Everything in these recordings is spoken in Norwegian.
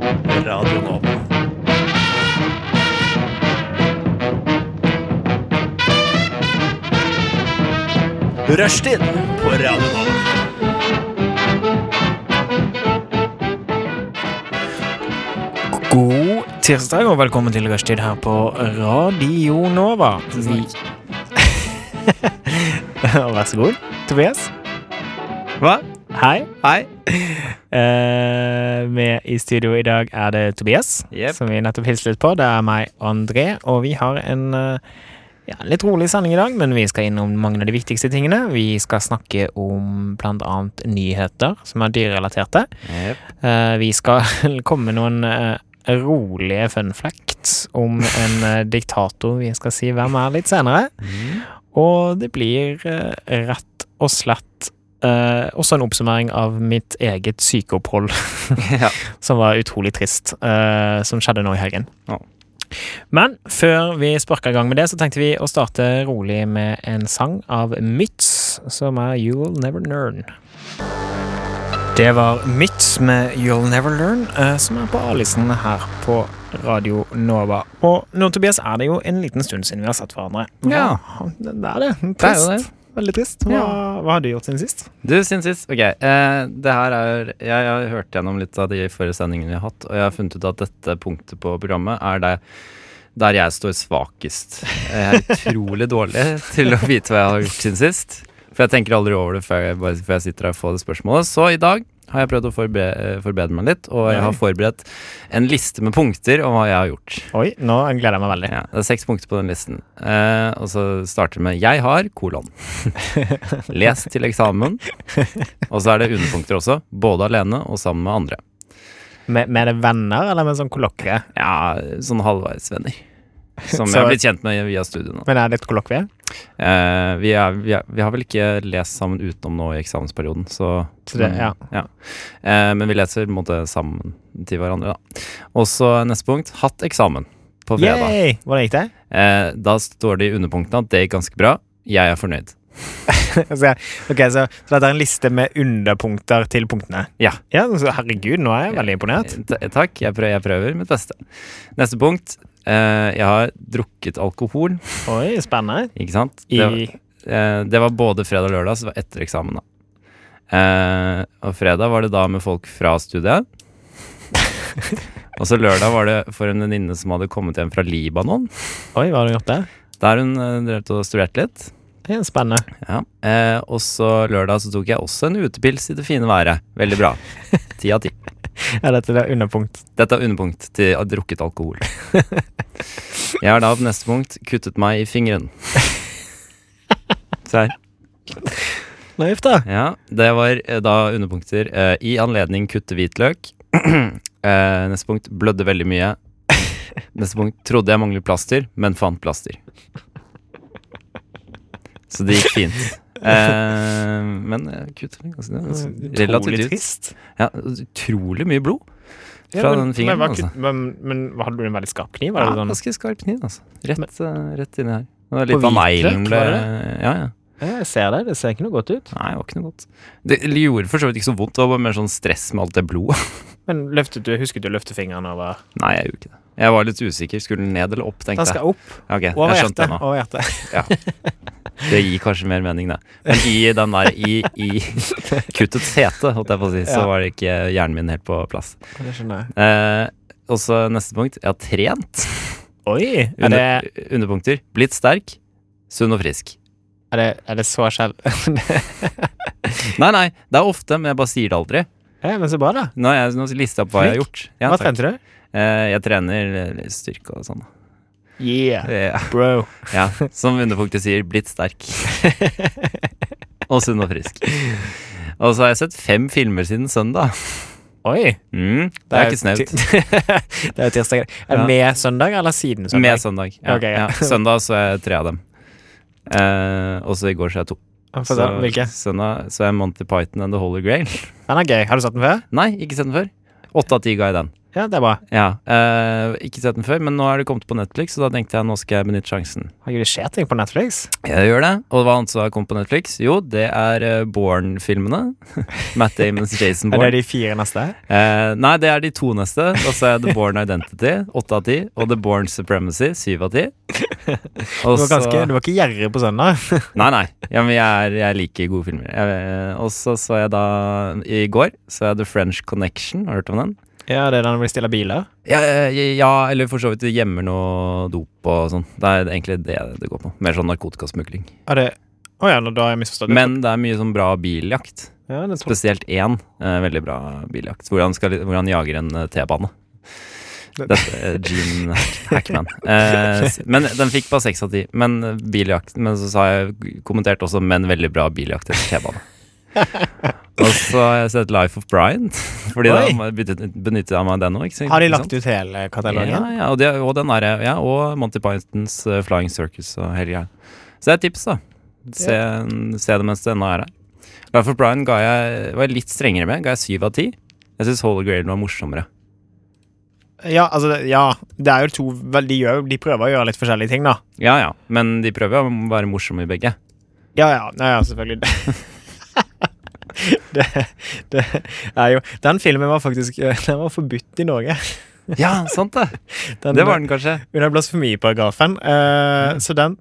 Radio Nova. Rushtid på Radio Nova. God tirsdag og velkommen til Rushtid her på Radio Nova. Vi... Vær så god, Tobias. Hva? Hei. Hei. Eh, med i studio i dag er det Tobias, Jep. som vi nettopp hilste litt på. Det er meg, André, og vi har en eh, ja, litt rolig sending i dag, men vi skal innom mange av de viktigste tingene. Vi skal snakke om bl.a. nyheter som er dyrerelaterte. Eh, vi skal komme med noen eh, rolige fun facts om en eh, diktator vi skal si hvem er litt senere. Og det blir eh, rett og slett eh, også en oppsummering av mitt eget sykeopphold, Ja. som var utrolig trist, eh, som skjedde nå i helgen. Ja. Men før vi sparker i gang med det, så tenkte vi å starte rolig med en sang av Mytz, som er You'll Never Learn. Det var Mytz med You'll Never Learn, eh, som er på A-listen her på Radio Nova. Og nå, Tobias, er det jo en liten stund siden vi har sett hverandre. Hva- Ja. Det er det. Trist. Det er jo det. Veldig trist. Hva, Ja. hva har du gjort siden sist? Du, siden sist Ok, eh, det her er Jeg har hørt gjennom litt av de forrige sendingene vi har hatt, og jeg har funnet ut at dette punktet på programmet er det der jeg står svakest. Jeg er utrolig dårlig til å vite hva jeg har gjort siden sist. For jeg tenker aldri over det før jeg, bare, før jeg sitter her og får det spørsmålet. Så i dag har jeg prøvd å forberede, forberede meg litt, og jeg har forberedt en liste med punkter om hva jeg har gjort. Oi, nå gleder jeg meg veldig. Ja, det er seks punkter på den listen. Eh, og så starter det med 'Jeg har kolon'. Les til eksamen. Og så er det underpunkter også. Både alene og sammen med andre. Med, med det venner, eller med sånn kollokvie? Ja, sånn halvveisvenner. Som jeg Så- har blitt kjent med via studiene. Men er det et kollokvie? Eh, vi, er, vi, er, vi har vel ikke lest sammen utenom nå i eksamensperioden, så, Så det- ja. Eh, men vi leser på en måte sammen til hverandre, da. Og så neste punkt hatt eksamen på fredag. Yay! Hvordan gikk det? Eh, da står det i underpunktene at det gikk ganske bra. Jeg er fornøyd. Altså, ok, så, så dette er en liste med underpunkter til punktene? Ja. så, herregud, nå er jeg veldig imponert. Eh, Ta- Takk, jeg prøver, jeg prøver mitt beste. Neste punkt. eh, jeg har drukket alkohol, Oi, spennende. ikke sant? I, Det, eh, det var både fredag og lørdag, så det var etter eksamen, da. Eh, og fredag var det da med folk fra studiet. og så lørdag var det for en venninne som hadde kommet hjem fra Libanon, oi, hva har du gjort der? der hun eh, drev og studerte litt. Det er spennende. Ja. Eh, og så lørdag så tok jeg også en utepils i det fine været. Veldig bra. Ti av ti. Er dette det underpunkt? Dette er underpunkt til å ha drukket alkohol. Jeg har da på neste punkt kuttet meg i fingeren. Se her. Naivt, da. Ja, det var eh, da underpunkter. eh, I anledning kutte hvitløk. Eh, neste punkt blødde veldig mye. Neste punkt trodde jeg manglet plaster, men fant plaster. Så det gikk fint. Eh, men jeg kuttet meg ganske ganske- relativt Utrolig ut. trist. Ja, utrolig mye blod Ja, fra men- den fingeren. Men, hva altså. kutt- men, men hadde du en veldig skarp kniv? Ja, Var det sånn? ganske skarp kniv, altså. Rett, eh, rett inni her. Det var På litt av neglen hvitløk, ble var Ja, ja. Ja, jeg ser det. Det ser ikke noe godt ut. Nei, det var ikke noe godt. Det gjorde for så vidt ikke så vondt, det var bare mer sånn stress med alt det blodet. Men løftet du, husket du å løfte fingeren over Nei, jeg gjorde ikke det. Jeg var litt usikker. Skulle den ned eller opp, Den tenkte jeg. skal opp Ok, over jeg skjønte det hjertet. nå. Over hjertet. Det gir kanskje mer mening, det. Men i den der i, i kuttet sete, holdt jeg på å si, så Ja. var det ikke hjernen min helt på plass. Det skjønner jeg. Eh, og så neste punkt. Jeg har trent. Oi! Er det, Under, underpunkter. Blitt sterk. Sunn og frisk. er det, er det så skjell... Nei, nei, det er ofte, men jeg bare sier det aldri. ja, men så bra, da. Nå har jeg nå har jeg lista opp hva jeg har gjort. Ja, Hva takk. trente du? Eh, jeg trener eh, styrke og sånn. Yeah, Eh, bro. Ja, som underpunktet sier, blitt sterk. og sunn og frisk. Og så har jeg sett fem filmer siden søndag. Oi. Mm, det er ikke snaut. ti- det er tirsdag. Er Ja. det med søndag eller siden søndag? Med søndag. Ja. Ok, ja. ja. Søndag så er jeg tre av dem. Eh, og så i går så er jeg to. Få Så, se, Hvilke? søndag så er Monty Python and The Holy Grail. Den er gøy. Har du sett den før? Nei, ikke sett den før. Åtte av ti ga jeg den. Ja, det er bra. Ja, eh, Ikke sett den før, men nå er det kommet på Netflix, og da tenkte jeg nå skal jeg benytte sjansen. Har ikke det skjer ting på Netflix? Jeg gjør det, og hva annet som har kommet på Netflix? Jo, det er eh, Bourne-filmene. Matt Damons Jason Er Bourne. det de fire neste? Eh, nei, det er de to neste. Og så er The Born Identity, åtte av ti. Og The Born Supremacy, syv av ti. Og Du var, så- ganske, du var ikke gjerrig på søndag. Nei, nei. Ja, men jeg, er, jeg liker gode filmer. Jeg, eh, og så så jeg da I går så jeg The French Connection. Har du hørt om den? Ja, det er da når de stiller biler. Ja, eh, ja eller for så vidt de gjemmer noe dop og sånn. Det er egentlig det det går på. Mer sånn narkotikasmugling. Å det... Å ja, nå- da har jeg misforstått. det. Men det er mye sånn bra biljakt. ja, det tror jeg. Spesielt én eh, veldig bra biljakt, hvor han, skal, hvor han jager en eh, T-bane. Dette er Gene Hackman. Eh, s- men den fikk bare seks av ti. Men eh, biljakt Men så sa jeg kommenterte også 'men veldig bra biljakt etter T-bane'. Og så har jeg sett Life of Brian, Fordi da Oi. må jeg bytte- benytter jeg meg av den òg. Har de lagt ut hele ja, katalogen? ja, og, det- og den er, ja, og Monty Pythons eh, Flying Circus og hele greia. Så det er et tips, da. Se, se det mens det ennå er her. Life of Brian ga jeg, var jeg litt strengere med. Ga jeg syv av ti. Jeg syns Holy Grail var morsommere. Ja, altså, det- ja. Det er jo to vel, de, gjør, de prøver å gjøre litt forskjellige ting, da. Ja ja, men de prøver jo å være morsomme i begge. Ja, ja. Ja, ja selvfølgelig. det, det er jo Den filmen var faktisk eh, Den var forbudt i Norge. Ja, sant det! Den, Det var den kanskje. Under blasfemiparagrafen. Eh, Så den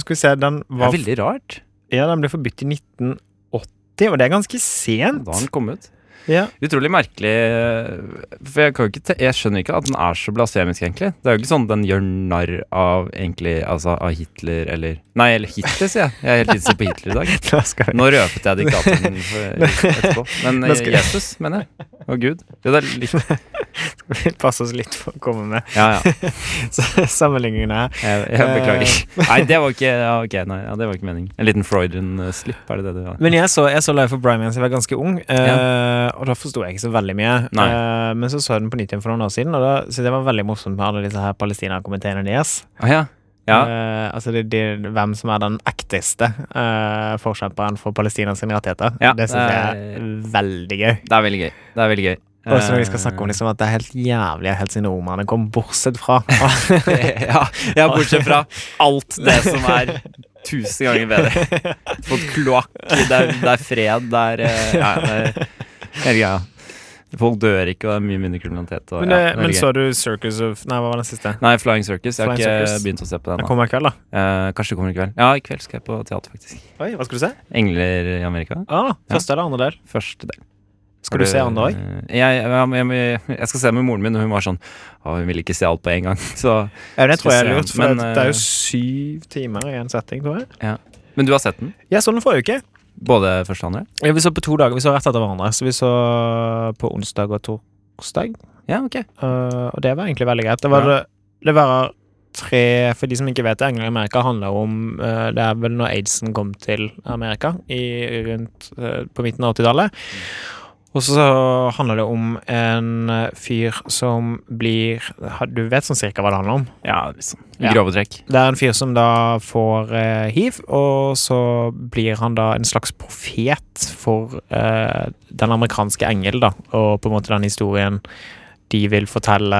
Skal vi se, den Det var er veldig rart. Ja, den ble forbudt i 1980, og det er ganske sent. Da den kom ut. Ja. Utrolig merkelig eh, For jeg, kan jo ikke te jeg skjønner ikke at den er så blasfemisk, egentlig. Det er jo ikke sånn den gjør narr av egentlig Altså av Hitler eller Nei, eller Hitler, sier jeg. Jeg er helt innstilt på Hitler i dag. Da skal vi. Nå røpet jeg diktatoren for- etterpå. Men Nå skal- Jesus, mener jeg. Og Gud. Jo, det er litt vi passe oss litt for å komme med Ja, ja. s- sammenligningene her. Jeg, jeg beklager. Eh. Nei, det var ikke ja, Ok, nei, ja, det var ikke meningen. En liten Freudian-slipp, er det det du har? Men jeg så, jeg så Life of Brian mens jeg var ganske ung, eh, og da forsto jeg ikke så veldig mye. Eh, men så så jeg den på nytt igjen for noen år siden, og da syntes jeg det var veldig morsomt med alle disse her palestinakomiteene deres. Ah, ja. Ja. Eh, altså det, det, hvem som er den ekteste eh, forkjemperen for Palestinas rettigheter. Ja, det syns jeg det er veldig gøy. Det er veldig gøy. Det er veldig gøy. Eh, Og så når vi skal snakke om liksom at det er helt jævlig helt siden romerne kom, bortsett fra ja, ja, bortsett fra alt det som er tusen ganger bedre. Fått kloakk, det er, det er fred, det er eh, ja, det er hele greia. Folk dør ikke, og det er mye mindre kriminalitet. Og, Men, ja, eh, det er men gøy. så du Circus of Nei, hva var den siste? Nei, Flying Circus. Jeg har Flying ikke Circus. begynt å se på den. Den ennå. kommer i kveld, da. Eh, kanskje det kommer i kveld. Ja, i kveld skal jeg på teater, faktisk. Oi, hva skal du se? Engler i Amerika. Ah, første eller andre del? Første del. Skal du se andre òg? Eh, Jeg, jeg, jeg, jeg skal se med moren min, og hun var sånn Å, hun ville ikke se alt på en gang. Så Ja, det tror jeg er Skal lurt, se, for men, det- det er eh, jo syv timer i en setting, tror jeg. Men du har sett den? Jeg så den sånn forrige uke. Både første og andre? Ja, vi så på to dager. Vi så rett etter hverandre. Så vi så på onsdag og torsdag, Ja, ok. eh, og det var egentlig veldig greit. Det var, det var tre For de som ikke vet det, England i Amerika handler om eh, Det er vel når aidsen kom til Amerika, i, rundt eh, på midten av 80-tallet. Og så handler det om en eh, fyr som blir Du vet sånn cirka hva det handler om? Ja, liksom. Ja. Grove trekk. Det er en fyr som da får eh, hiv, og så blir han da en slags profet for eh, den amerikanske engel, da, og på en måte den historien de vil fortelle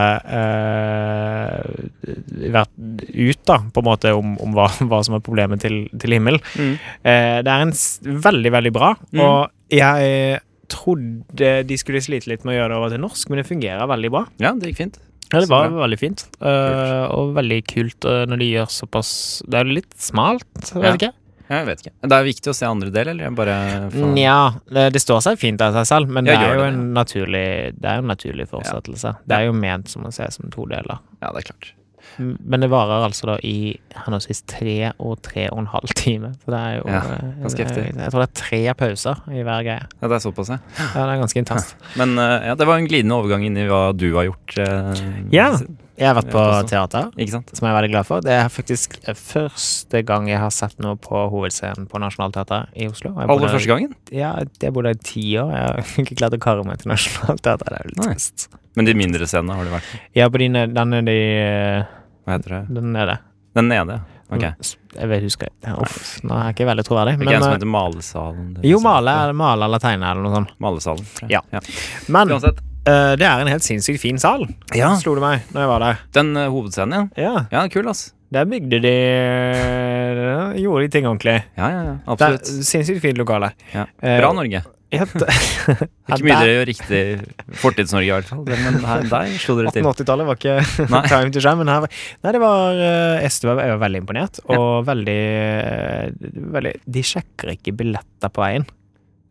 eh, vært ut, da, på en måte, om, om hva, hva som er problemet til, til himmel. Eh, det er en s veldig, veldig bra, Mm. og jeg trodde de skulle slite litt med å gjøre det over til norsk, men det fungerer veldig bra. Ja, det gikk fint. Ja, det Så var bra. veldig fint, eh, og veldig kult eh, når de gjør såpass Det er litt smalt, Ja. vet du ikke? Jeg vet ikke. Det er viktig å se andre del, eller? Jeg bare faen. Nja, Mm, det, det står seg fint av seg selv, men Ja, det er, gjør jo det, en naturlig, det er jo en naturlig fortsettelse. Det er jo ment som å se som to deler. Ja, det er klart. M- Men det varer altså da i henholdsvis tre og tre og en halv time. Så det er jo Ja, eh, ganske det er- heftig. Jeg tror det er tre pauser i hver greie. Ja, det er såpass, ja. Ja, det er ganske intenst. Men eh, ja, det var en glidende overgang inn i hva du har gjort. eh, Ja. siden. Jeg har vært på Ja, det teater. Ikke sant? Som jeg er veldig glad for. Det er faktisk første gang jeg har sett noe på hovedscenen på Nationaltheatret i Oslo. Jeg bodde- Aller første gangen. Ja, det bodde jeg i ti år. Jeg har ikke klart å karre meg til nasjonalteater. Det er jo litt Nei. trist. Men de mindre scenene har du vært. Ja, på de ned- den er de Hva heter det? Den er det. Den nede. Ok. Det Jeg vet, husker jeg. Uff, nå er jeg ikke veldig troverdig. er ikke en som Mm. Men, heter Malesalen. eh, jo, male, male eller tegne eller noe sånn. Malesalen. tror jeg. Ja. Men Uansett. Eh, det er en helt sinnssykt fin sal, Ja. slo det meg når jeg var der. Den eh, hovedscenen, ja. Ja, Ja, kul, ass. Der bygde de der Gjorde de ting ordentlig. Ja, ja, ja. Det er Absolutt. sinnssykt fint lokale. Ja. Eh, Bra Norge. Helt, Ikke mye dere gjør riktig Fortids-Norge, i hvert fall. Men her, der slo dere til. 1880-tallet var ikke Nei. time to shine, men her var- Nei, det var eh, SD var, jeg var veldig imponert, og veldig, eh, veldig De sjekker ikke billetter på veien.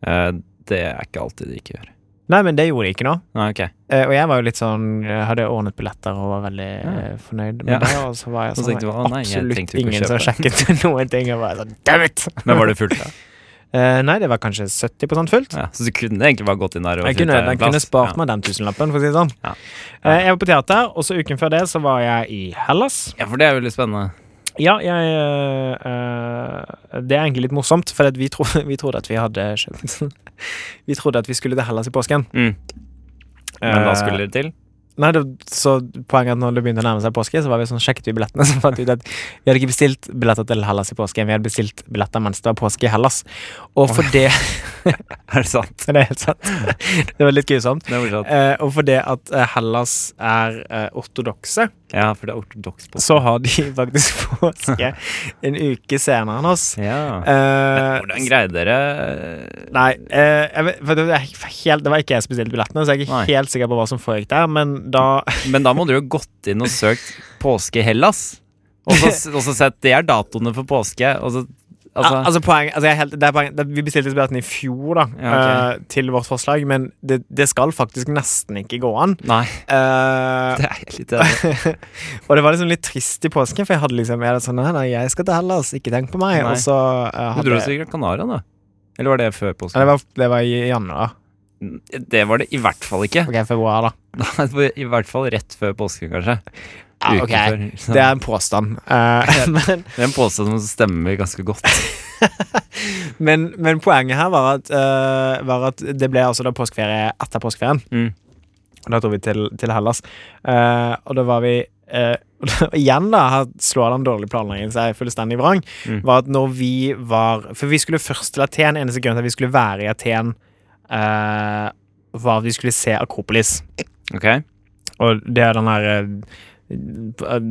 Eh, Det er ikke alltid de ikke gjør. Nei, men det gjorde de ikke nå. Nei, ok. Eh, og jeg var jo litt sånn jeg Hadde ordnet billetter og var veldig eh, fornøyd med Ja. det. Og så var jeg Så sånn tenkte du, «Å, nei, jeg Absolutt trengte jo ikke ingen som kjøpe». sjekket noen ting. Og bare sånn, damn it! Men var det fullt, da? Eh, nei, det var kanskje 70 fullt. Ja, så du kunne egentlig bare gått inn der og Jeg kunne, funnet deg en jeg kunne plass? spart meg den tusenlappen, for å si det sånn. eh, Ja. Eh, jeg var på teater, og så uken før det så var jeg i Hellas. Ja. ja, for det er jo litt spennende. Ja, jeg øh, øh, Det er egentlig litt morsomt, for at vi, tro, vi trodde at vi hadde kjøpt Vi trodde at vi skulle til Hellas i påsken. Mm. Men da Eh, skulle dere til? Nei, det, så Poenget er at når det begynte å nærme seg påske, så var vi sånn, sjekket vi billettene. Så fant vi ut at vi hadde ikke bestilt billetter til Hellas i påsken, vi hadde bestilt billetter mens det var påske i Hellas. Og for det Er det sant? Det er helt sant. Det var litt grusomt. Det er morsomt. Eh, og for det at eh, Hellas er eh, ortodokse, Ja, for det er ortodoks på så har de faktisk påske en uke senere enn oss. Ja. Eh, Hvordan greide dere Nei, eh, jeg vet, for det, var helt, det var ikke jeg som bestilte billettene, så jeg er ikke Nei. helt sikker på hva som foregikk der. Men da Men da må dere jo gått inn og søkt påske i Hellas. Og så og så sett Det er datoene for påske. Og så Altså, Altså, altså poeng, altså jeg er helt, det er poeng, det, Vi bestilte billettene i fjor, da, Ja, eh, til vårt forslag, men det, det skal faktisk nesten ikke gå an. nei. Eh, Det er litt enig. og det var liksom litt trist i påsken, for jeg hadde liksom jeg hadde sånn Nei, nei, jeg skal til Hellas, ikke tenk på meg. Nei. Og så eh, Du hadde dro til Gran Canaria, da? Eller var det før Nei, det, påske? var, det var i januar. Det var det i hvert fall ikke. Ok, februar, da. Nei, det var I hvert fall rett før påske, kanskje. Ja, ok. Uken før. Det er en påstand. Eh, men Det er en påstand som stemmer ganske godt. Men, men poenget her var at, eh, var at det ble altså da påskeferie etter påskeferien. Mm. Og da dro vi til, til Hellas. Eh, og da var vi eh, og da- og Igjen, da, her slår den dårlige planleggingen seg fullstendig vrang. Mm. Var at når vi var For vi skulle først til Aten. Eneste grunn til at vi skulle være i Aten, eh, var at vi skulle se Akropolis. Ok, Og det er den der eh,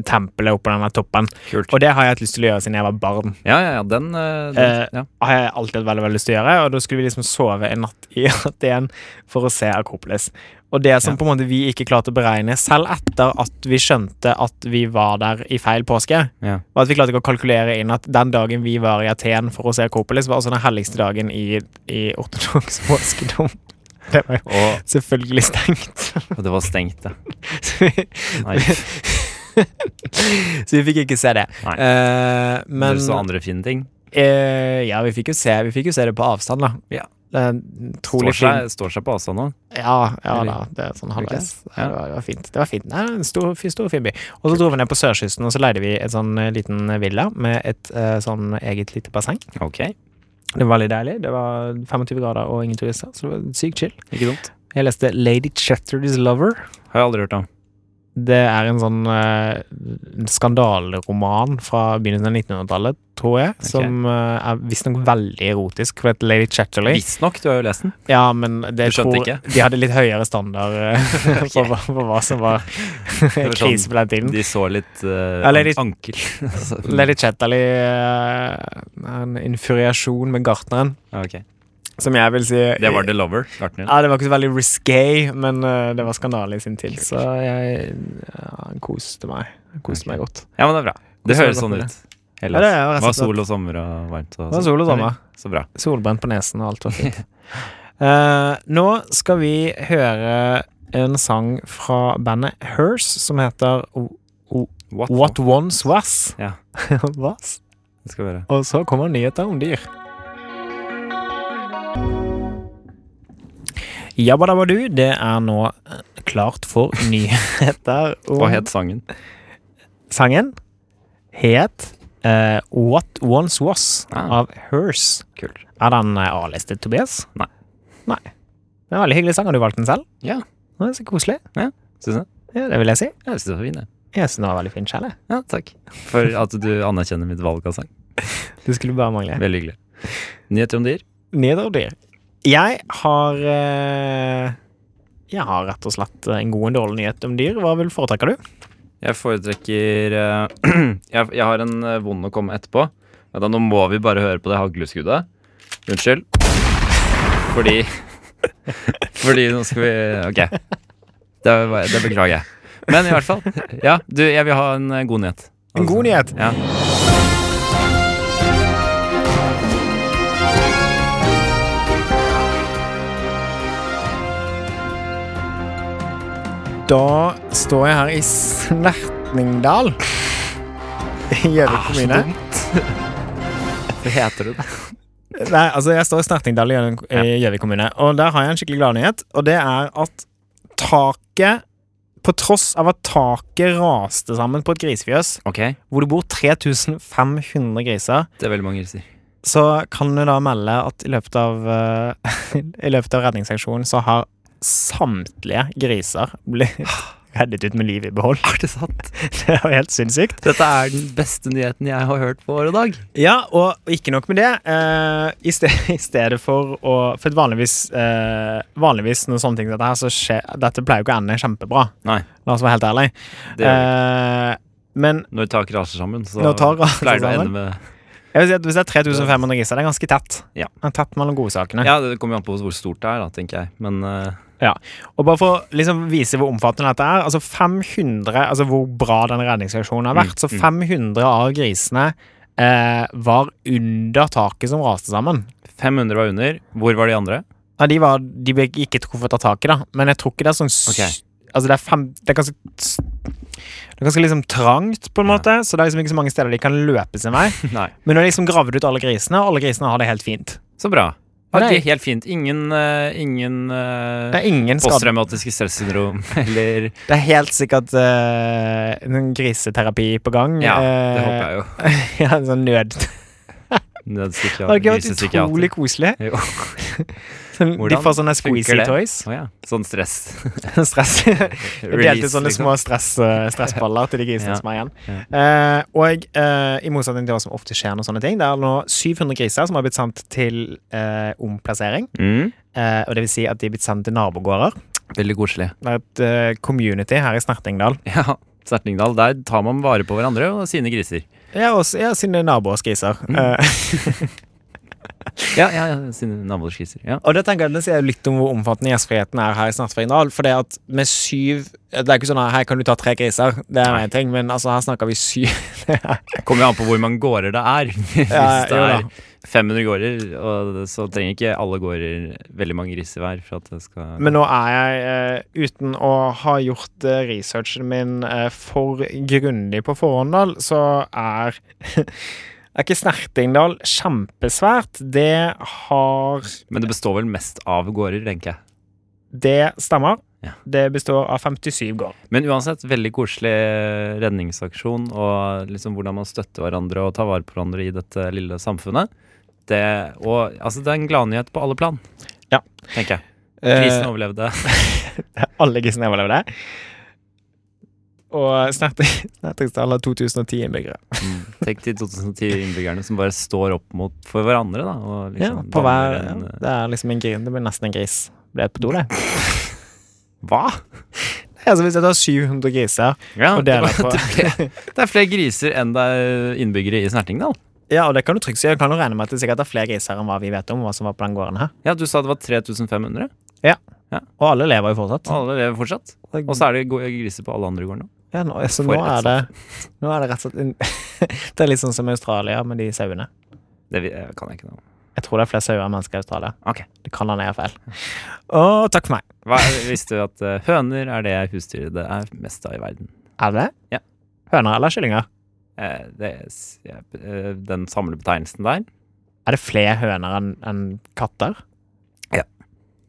tempelet oppå den der toppen. kult. Og det har jeg hatt lyst til å gjøre siden jeg var barn. Ja, ja, ja, den, eh, den Eh, ja. har jeg alltid hatt veldig, veldig lyst til å gjøre, og da skulle vi liksom sove en natt i Aten for å se Akropolis. Og det som Ja. på en måte vi ikke klarte å beregne, selv etter at vi skjønte at vi var der i feil påske, Ja. var at vi klarte ikke å kalkulere inn at den dagen vi var i Aten for å se Akropolis, var også den helligste dagen i, i ortodoks påskedom. Det var jo Og, selvfølgelig stengt. og det var stengt, ja. Så vi, Nei, så vi fikk ikke se det. Nei. Eh, men Dere så andre fine ting. eh, Ja, vi fikk jo se, vi fikk jo se det på avstand, da. Ja. Det er en Står utrolig fin seg, står seg på avstand nå. Ja, ja da, Eller- det er sånn Var det ikke halvveis. Ja. Ja. Det, var, det var fint. Det var fint. Nei, en stor, fin- stor fin by. Og så dro vi ned på sørkysten, og så leide vi en sånn eh, liten villa med et eh, sånn eget lite basseng. Ok, Det var veldig deilig. Det var 25 grader og ingen turister, så det var sykt chill. ikke dumt. Jeg leste Lady Chatterdeys Lover. Har jeg aldri hørt om. Det er en sånn eh, en skandaleroman fra begynnelsen av 1900-tallet, tror jeg, som eh, er visstnok veldig erotisk, for at Lady Chatterley Visstnok, du har jo lest den. Ja, men det, Du jeg skjønte tror, ikke? de hadde litt høyere standard eh, for, hva- for hva som var var krise sånn- på den tiden. De så litt eh, Ja, Lady- an- ankel. Altså, Lady Chatterley eh, er en infuriasjon med gartneren, ja, ok. som jeg vil si Det var The Lover, Gartner. Ja, det var ikke så veldig risqué, men eh, det var skandale i sin tid, så jeg ja, koste meg. Jeg Koste meg godt. Ja, men det er bra. Det Hvordan høres var sånn det? ut. Ja, det er Hellas. jo Det rett og var slett- sol altså. og sommer og varmt. Og sånn. Det var sol og sommer. Så bra. Solbrent på nesen og alt var fint. Eh, nå skal vi høre en sang fra bandet Hers som heter O- What? What Once Was. Ja. Was? Det skal være. Og så kommer nyheter om dyr. Jabbadabadu, det er nå eh, klart for nyheter om Hva het sangen? sangen. Het eh, What Once Was Ah. av Hers. Kult. Er den eh, A-listet, Tobias? Nei. Nei. Det er en veldig hyggelig sang. Har du valgt den selv? Ja. Det er så koselig. Synes du? Ja, det vil jeg si. Jeg synes det var fint, det. Jeg syns den var veldig fin selv. jeg. Ja, takk. For at du anerkjenner mitt valg av sang. Det skulle bare mangle. Veldig hyggelig. Nyheter om dyr? Nyheter og dyr. Jeg har eh, Jeg har rett og slett en god og dårlig nyhet om dyr. Hva vil foretrekker du? Jeg foretrekker eh, jeg, jeg har en eh, vond å komme etterpå. Men da, nå må vi bare høre på det hagleskuddet. Unnskyld. Fordi Fordi nå skal vi Ok. Det, var- det beklager jeg. Men i hvert fall. Ja, du, jeg vil ha en eh, god nyhet. En god nyhet. Ja. Da står jeg her i Snertningdal i Gjøvik kommune. Hva heter det? Nei, altså jeg står i Snertingdal i Gjøvik- i Gjøvik kommune, og der har jeg en skikkelig glad nyhet. Og det er at taket På tross av at taket raste sammen på et grisefjøs, Ok, hvor det bor 3500 griser, det er veldig mange griser. så kan du da melde at i løpet av eh, I løpet av redningsaksjonen så har samtlige griser blitt reddet ut med livet i behold. Er det sant? Det er jo helt sinnssykt. Dette er den beste nyheten jeg har hørt på året dag. Ja, og ikke nok med det. eh, i, sted, I stedet for å For at vanligvis, eh, vanligvis når sånne ting som dette her, så skjer Dette pleier jo ikke å ende kjempebra. Nei, La oss være helt ærlig. det gjør det ikke. Eh, men Når tak raser sammen, så Når tak raser pleier det å sammen. ende med jeg vil si at hvis det er 3500 griser, det er ganske tett. Ja. Det er tett mellom godsakene. Ja, det kommer jo an på hvor stort det er, da, tenker jeg. Men eh, Og bare for å liksom vise hvor omfattende dette er, altså 500, altså hvor bra den redningsaksjonen har vært, så Mm, mm. 500 av grisene eh, var under taket som raste sammen. 500 var under. Hvor var de andre? Nei, de, var, de ble ikke truffet av taket, da. Men jeg tror ikke det er sånn s- Ok. Altså, det er fem Det er ganske s- Det er ganske liksom trangt, på en Ja. måte. Så det er liksom ikke så mange steder de kan løpe sin vei. Nei. Men nå har de liksom gravd ut alle grisene, og alle grisene har det helt fint. Så bra. Ja, Nei. det er helt fint. Ingen, eh, ingen eh, Det er ingen skade. posttraumatiske stressyndrom eller Det er helt sikkert eh, noen griseterapi på gang. Ja, Eh, det håper jeg jo. ja, sånn nød. Nødpsykiater. det har ikke vært grisepsykiater. utrolig koselig. Jo. Sånn, de Hvordan får sånne funker squeezy det? toys. Å ja. Sånn stress. Stress. Jeg delte ut sånne liksom. små stress, eh, stressballer til de grisene Ja, som er igjen. Eh, og eh, i motsetning til hva som ofte skjer, når sånne ting, det er nå 700 griser som har blitt sendt til eh, omplassering. Mm. Eh, og det vil si at de er blitt sendt til nabogårder. Veldig koselig. Det er et eh, community her i Snertingdal. Ja. Sertingdal, der tar man vare på hverandre og sine griser. Ja, og s- ja, sine naboers griser. Mm. Eh, Ja, ja, ja sine naboers griser. Ja. og det tenker jeg det sier litt om hvor omfattende gjestfriheten er her i Snertingdal. For det at med syv Det er ikke sånn at her kan du ta tre griser, det er Nei. én ting, men altså her snakker vi syv Kommer jo an på hvor mange gårder det er. Hvis Ja, det jo da. er 500 gårder, og det- så trenger ikke alle gårder veldig mange griser hver. For at det skal Men nå er jeg, eh, uten å ha gjort eh, researchen min eh, for grundig på forhånd, da, så er Er ikke Snertingdal kjempesvært? Det har Men det består vel mest av gårder, tenker jeg. Det stemmer. Ja. Det består av 57 gård. Men uansett, veldig koselig redningsaksjon, og liksom hvordan man støtter hverandre og tar vare på hverandre i dette lille samfunnet. Det, og, altså, det er en gladnyhet på alle plan, Ja. tenker jeg. Krisen Eh, overlevde. alle grisene overlevde. Og Snerting- Snertingdal har 2010 innbyggere. Mm. Tenk de 2010-innbyggerne som bare står opp mot for hverandre, da. Og liksom Ja, på hver, danner en, ja, det er liksom en grin. Det blir nesten en gris. Ble på do, det. Hva? Altså, hvis jeg tar 700 griser Ja, og det, deler var, på det, ble, det er flere griser enn det er innbyggere i Snertingdal. Ja, og det kan du trygt si. Jeg kan jo regne med at det sikkert er flere griser enn hva vi vet om. hva som var på den gården her. Ja, du sa det var 3500, Og alle lever jo fortsatt. og alle lever fortsatt. Og så er det go- griser på alle andre gårdene. ja, nå, så For nå et er, det, nå er det rett og slett en, Det er litt sånn som Australia med de sauene. Det vi- eh, kan jeg ikke noe om. Jeg tror det er flere sauer enn mennesker i Australia. Ok. Det kan han jeg gjør feil. Og takk for meg. Hva, visste du at eh, høner er det husdyret det er mest av i verden? Er det Ja. høner eller kyllinger? Eh, det, er s- ja, eh, den samlebetegnelsen der. Er det flere høner enn enn katter? Ja.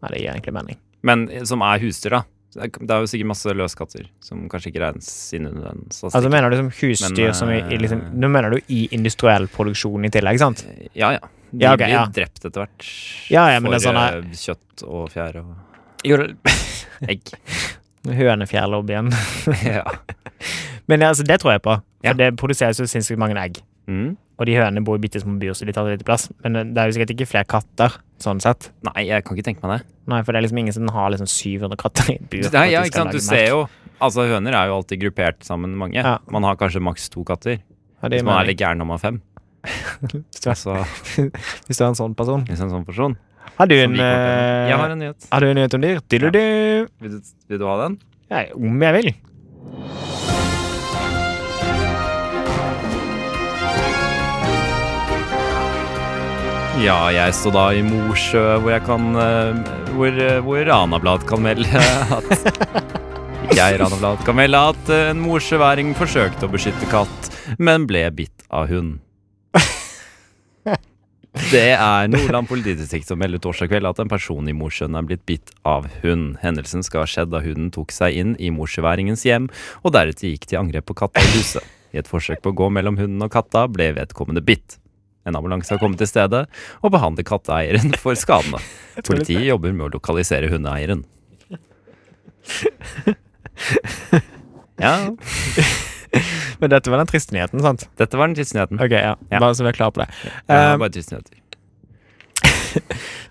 Nei, det gir egentlig mening. Men eh, som er husdyr, da. Så Det er- det er jo sikkert masse løskatter som kanskje ikke regnes inn under den Altså statistikken. Mener du som husdyr Men, som i, i liksom, eh, Nå mener du i industriell produksjon i tillegg, sant? Eh, ja, ja. De Altså- Ja, ok, blir ja. drept etter hvert Ja, ja, men for det er sånn eh, kjøtt og fjær og Jo, egg. hønefjærlobbyen. ja. Men altså, det tror jeg på. For Ja. det produseres jo sinnssykt mange egg. mm. Og de hønene bor i bitte små bur, så de tar så lite plass. Men eh, det er jo sikkert ikke flere katter, sånn sett. Nei, jeg kan ikke tenke meg det. Nei, for det er liksom ingen som har liksom 700 katter i et bur. for Nei, at ja, de ikke skal sant? Du lage melk. ser jo Altså, høner er jo alltid gruppert sammen mange. Ja. Man har kanskje maks to katter. Ja, det Hvis man er mener jeg. litt gæren når man har fem. Hvis du er- Så Hvis du er en sånn person. hvis en sånn person Har du så en, vi kommer til det. Jeg har eh, en nyhet. har du en nyhet om dyr? Diddle-du. Vil du, vil du ha den? Ja, om jeg vil. Ja, jeg står da i Mosjø, hvor jeg kan eh, Hvor, eh, hvor Ranablad kan melde at Ikke jeg, Ranablad, kan melde at eh, en mosjøværing forsøkte å beskytte katt, men ble bitt av hund. Det er Nordland politidistrikt som melder torsdag kveld at en person i Mosjøen er blitt bitt av hund. Hendelsen skal ha skjedd da hunden tok seg inn i mosjøværingens hjem, og deretter gikk til angrep på katta i huset. I et forsøk på å gå mellom hunden og katta ble vedkommende bitt. En ambulanse har kommet til stedet og behandler katteeieren for skadene. Politiet jobber med å lokalisere hundeeieren. Ja, Men dette var den triste nyheten, sant? dette var den tidsnyheten. Ok, ja. Ja. Bare så vi er klar på det. Ja, Eh, bare tidsnyheter.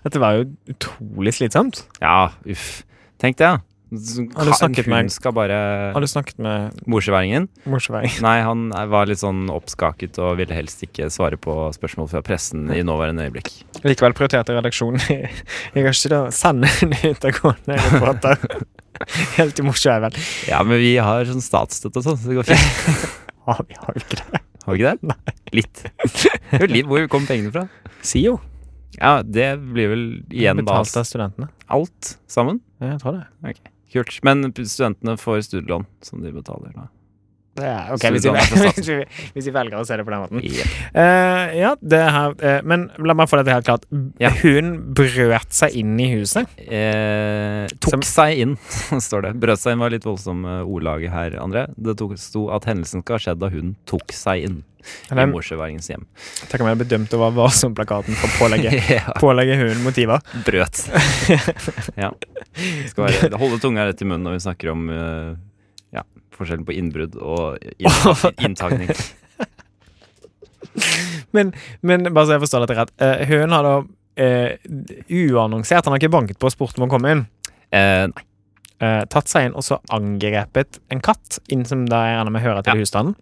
dette var jo utrolig slitsomt. Ja, uff. Tenk det, ja. Har du snakket med- Hun skal bare Har du snakket med Morsøværingen? morsværing? Nei, han var litt sånn oppskaket og ville helst ikke svare på spørsmål fra pressen i nåværende øyeblikk. Likevel prioriterte redaksjonen Jeg har ikke da sanne nyhetagående reporter helt i morsværen. Ja, men vi har sånn statsstøtte og sånn, så det går fint. Ja, vi har jo ikke det. Har vi ikke det? Nei. Litt. Jo, litt. Hvor kom pengene fra? SIO. Ja, det blir vel igjen Betalt base. av studentene. Alt sammen. Ja, jeg tror det. Kult. Men studentene får studielån som de betaler da. det er, ok, Så hvis, det vi, er fra staten. hvis, vi, hvis vi velger å se det på den måten. Ja. Eh, ja, det her eh, Men la meg få dette helt klart. Ja. Hun brøt seg inn i huset. Eh, tok Som- seg inn, står det. Brøt seg inn var litt voldsom eh, ordlaget her, André. Det tok, sto at hendelsen skal ha skjedd da hun tok seg inn i Eller, morsøværingens hjem. tenk om jeg hadde bedømt over varsom-plakaten for å pålegge, Ja, pålegge hunden motiver. brøt seg. ja. Skal være, holde tunga rett i munnen når vi snakker om eh, ja, forskjellen på innbrudd og inntak- inntagning. Men, men bare så jeg forstår dette rett. eh, hun har da eh, uannonsert, han har ikke banket på og spurt om å komme inn, Eh, nei. eh, tatt seg inn og så angrepet en katt, inn som da jeg regner med hører til Ja. husstanden.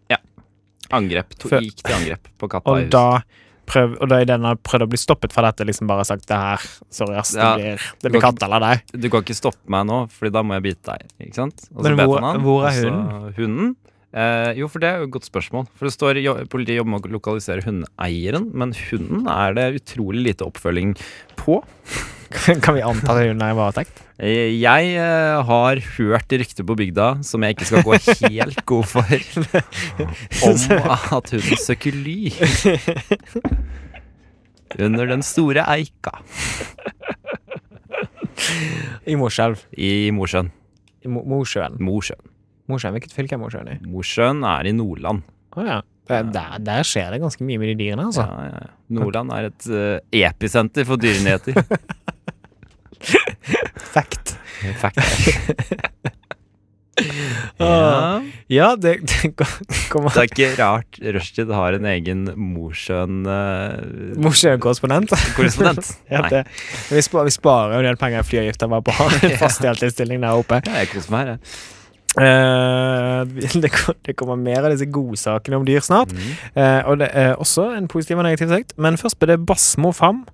Angrep. To, Før- gikk til angrep på katta i Og huset. da prøv, og da i den har prøvd å bli stoppet fra dette, liksom bare sagt det her, sorry ass, det Ja. blir, det blir Går ikke- katt eller deg. Du kan ikke stoppe meg nå, Fordi da må jeg bite deg. Ikke sant? Og så Men bet hvor- han han, hvor er og så hunden? Eh, jo, for det er jo et godt spørsmål. For det står jo, Politiet jobber med å lokalisere hundeeieren, men hunden er det utrolig lite oppfølging på. Kan vi anta at hun er i varetekt? Eh, Jeg eh, har hørt rykter på bygda som jeg ikke skal gå helt god for, om at hunden søker ly under den store eika I Morselv. i Mosjøen. I Mo- Mosjøen. Mosjøen. Mosjøen, Hvilket fylke er Mosjøen i? Mosjøen er i Nordland. Å ja. Der, der- der skjer det ganske mye med de dyrene, altså. Ja, ja. ja. Nordland er et eh, episenter for dyrenyheter. Fact. Fact. ja. Ja, det, det kommer Det er ikke rart Rushtid har en egen Mosjøen-korrespondent. Mosjøen-korrespondent. Ja, Nei, det, vi, sparer, vi sparer jo en del penger i flyavgifter bare på å ha en fast deltidsstilling der oppe. Ja, jeg koser meg her, jeg. Eh, det, kom- det kommer mer av disse godsakene om dyr snart. Eh, og det er også en positiv og negativ sekt. Men først ble det Basmo Fam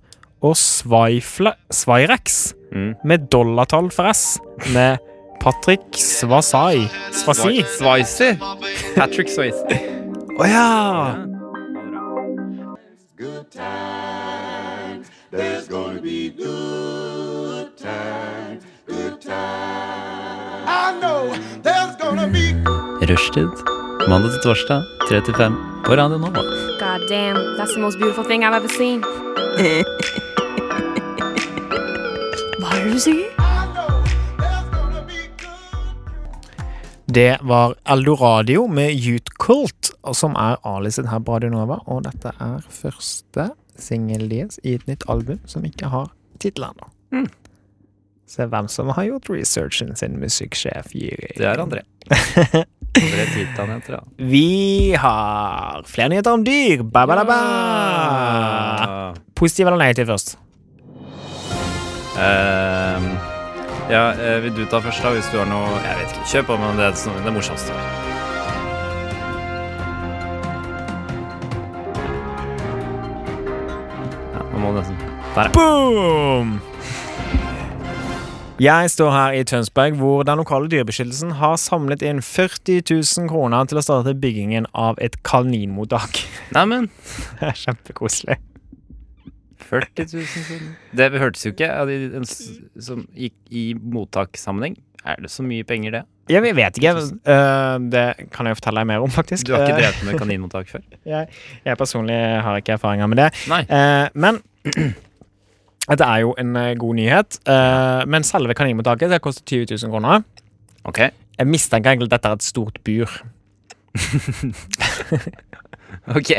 og Sveifle, Svairex Mm. med dollartall for S med Patrick Svasai. Svasi. Swi- Swayze. Patrick Swayze. Å ja! good times. There's gonna be good times, good times. I know there's gonna be Rushtid. Mandag til torsdag, 3 til 5 på Radio Nova. God Ah, damn, that's the most beautiful thing I've ever seen. Hva er det du sier? Det var Eldoradio med Youth Cult, og som er A-listet her på Radio Nova. Og dette er første singel deres i et nytt album som ikke har tittel ennå. Se hvem som har gjort researchen sin, musikksjef Jyri. Det er André. Andre Titan heter det. da. Vi har flere nyheter om dyr. Ba, ba, da, ba. Ah. Positiv eller negativ først? Ehm, ja, eh, vil du ta først, da, hvis du har noe Jeg vet ikke. Kjør på med det, som- det morsomste. Ja, man må nesten Der, ja. Boom! Jeg står her i Tønsberg, hvor den lokale dyrebeskyttelsen har samlet inn 40 000 kroner til å starte byggingen av et kaninmottak. Neimen Det er kjempekoselig. 40 000 kroner. Det hørtes jo ikke av de en s- som gikk i mottakssammenheng. Er det så mye penger, det? Jeg vet ikke. eh, Det kan jeg jo fortelle deg mer om, faktisk. Du har ikke Eh, drevet med kaninmottak før? Jeg, jeg personlig har ikke erfaringer med det. Nei. Eh, men dette er jo en eh, god nyhet. Eh, men selve kaninmottaket skal koste 20 000 kroner. Ok. Jeg mistenker egentlig at dette er et stort bur. Ok.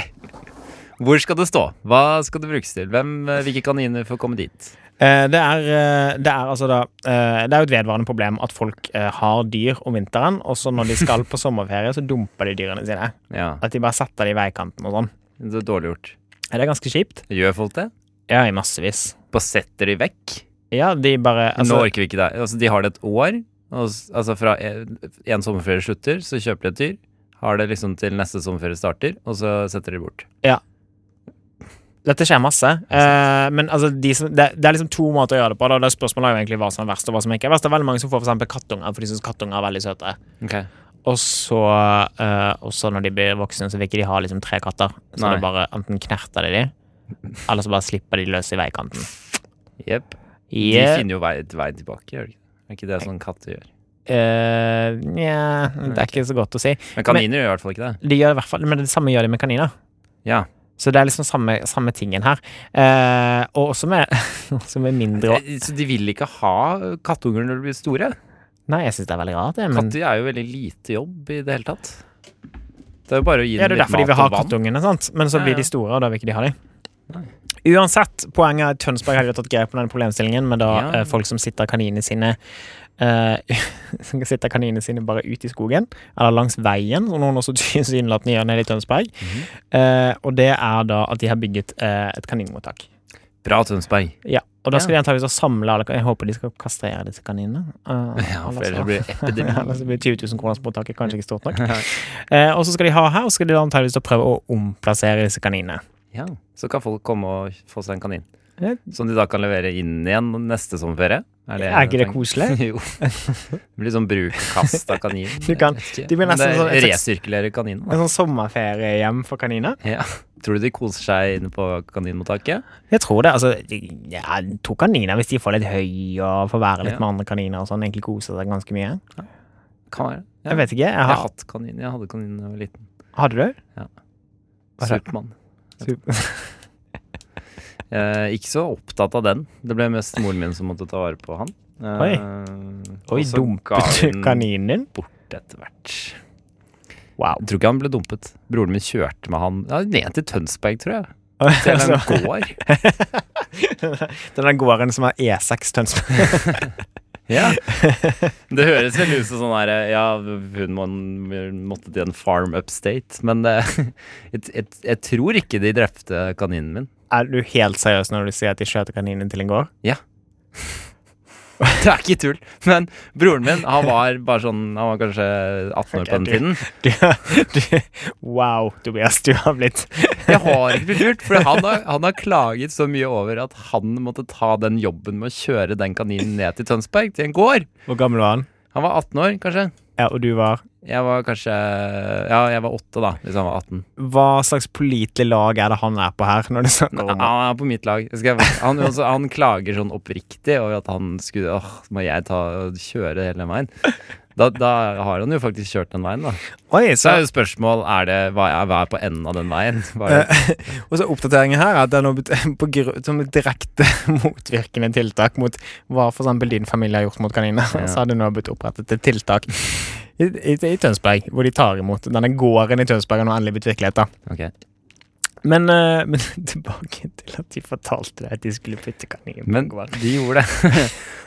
Hvor skal det stå? Hva skal det brukes til? Hvem, eh, hvilke kaniner får komme dit? Eh, det, er, eh, det er altså da eh, Det er jo et vedvarende problem at folk eh, har dyr om vinteren, og så når de skal på sommerferie, så dumper de dyrene sine. Ja, At de bare setter de i veikanten og sånn. Det er dårlig gjort. Er det ganske kjipt? Gjør folk det? Ja, i massevis. Bare setter de vekk? Ja, de bare Nå altså, orker vi ikke det. Altså, de har det et år. Og, s- altså fra en en sommerferie slutter, så kjøper de et dyr. Har det liksom til neste sommerferie starter, og så setter de det bort. Dette skjer masse. eh, men altså, de som, det, det er liksom to måter å gjøre det på. Da. Det er spørsmålet er jo egentlig hva som er verst, og hva som ikke er verst. Det er veldig mange som får for eksempel kattunger, for de syns kattunger er veldig søte. Og så, eh, og så når de blir voksne, så vil ikke de ha liksom tre katter. Så Nei. det bare enten knerter de de, eller så bare slipper de løs i veikanten. Jepp. De Yeah. finner jo vei, vei tilbake, gjør de ikke? det? Er ikke det sånn katter gjør? Eh, nja, det er ikke så godt å si. Men kaniner gjør i hvert fall ikke det. De gjør det i hvert fall, men det samme gjør de med kaniner. Ja. Så det er liksom samme, samme tingen her. Eh, og også med, også med mindre Eh, Så de vil ikke ha kattunger når de blir store? Nei, jeg syns det er veldig rart, det. Men, Katter er jo veldig lite jobb i det hele tatt. Det er jo bare å gi ja, dem det er litt derfor de mat vil ha og vann. kattungene, sant? men så Ja, blir ja. de store, og da vil ikke de ha dem. Uansett, poenget er at Tønsberg har jo tatt grep på denne problemstillingen, men da Ja. eh, folk som sitter kaninene sine eh, Som sitter kaninene sine bare ute i skogen, eller langs veien, som noen også tilsynelatende gjør nede i Tønsberg. Mhm. eh, og det er da at de har bygget eh, et kaninmottak. Bra, Tønsberg. Ja, og da skal Ja. de antakeligvis samle alle Jeg håper de skal kastrere disse kaninene. eh, Ja, for ellers så- ellers blir det epidemi. Ellers blir 20 000 kroners påtaket kanskje ikke stort nok. Eh, og så skal de ha her, og så skal de da antageligvis da prøve å omplassere disse kaninene. Ja, så kan folk komme og få seg en kanin. Ja. Som de da kan levere inn igjen neste sommerferie. Er ikke det tenker- koselig? jo. Det blir sånn bruk-kast av kanin. Du kan- Jeg vet ikke. de blir Men nesten det sånn et Resirkulerer kaninen. da. En sånn sommerferiehjem for kaniner? Ja. Tror du de koser seg inne på kaninmottaket? Jeg tror det. altså, de- ja, To kaniner, hvis de får litt høy og får være litt Ja. med andre kaniner og sånn, egentlig koser seg ganske mye. Kan være. Ja. Jeg vet ikke. Jeg Jeg har har, hatt kanin. Jeg hadde kanin da jeg var liten. hadde du? Hva er det? Supermann. Sup- Eh, ikke så opptatt av den. Det ble mest moren min som måtte ta vare på han. Eh, Oi. Oi, og så ga dumpet vi du den kaninen din? Bort etter hvert. Wow. Jeg tror ikke han ble dumpet. Broren min kjørte med han ja, ned til Tønsberg, tror jeg. Til en Altså, gård. det er den gården som E er E6 Tønsberg. Ja. Det høres veldig ut som sånn her Ja, hun må, måtte til en farm upstate. Men det, jeg, jeg, jeg tror ikke de drepte kaninen min. Er du helt seriøs når du sier at de skjøt kaninen til en gård? Det er ikke tull. Men broren min, han var bare sånn Han var kanskje 18 år på den Ok, tiden. Du, du, wow, Tobias, du har blitt Jeg har ikke blitt lurt, for han har, han har klaget så mye over at han måtte ta den jobben med å kjøre den kaninen ned til Tønsberg, til en gård. Hvor gammel var han? Han var 18 år, kanskje. Ja, og du var Jeg var kanskje Ja, jeg var åtte, da, hvis han var 18. Hva slags pålitelig lag er det han er på her? Når du snakker Han om det? er på mitt lag. Jeg Skal, han, også, han klager sånn oppriktig over at han skulle Åh, må jeg ta, kjøre hele den veien? Da, da har han jo faktisk kjørt den veien, da. Oi, Så så, er jo spørsmål er det, hva, er, hva er på enden av den veien. Hva er det? og så oppdateringen her er at det er noe bet- på gru- som et direkte motvirkende tiltak mot hva for eksempel din familie har gjort mot kaniner. Ja. Så har det nå blitt opprettet et tiltak i, i, i Tønsberg, hvor de tar imot denne gården i Tønsberg har nå endelig blitt virkelighet. da. Ok. Men, eh, men tilbake til at de fortalte deg at de skulle putte kaninen på Men kvar. de gjorde det.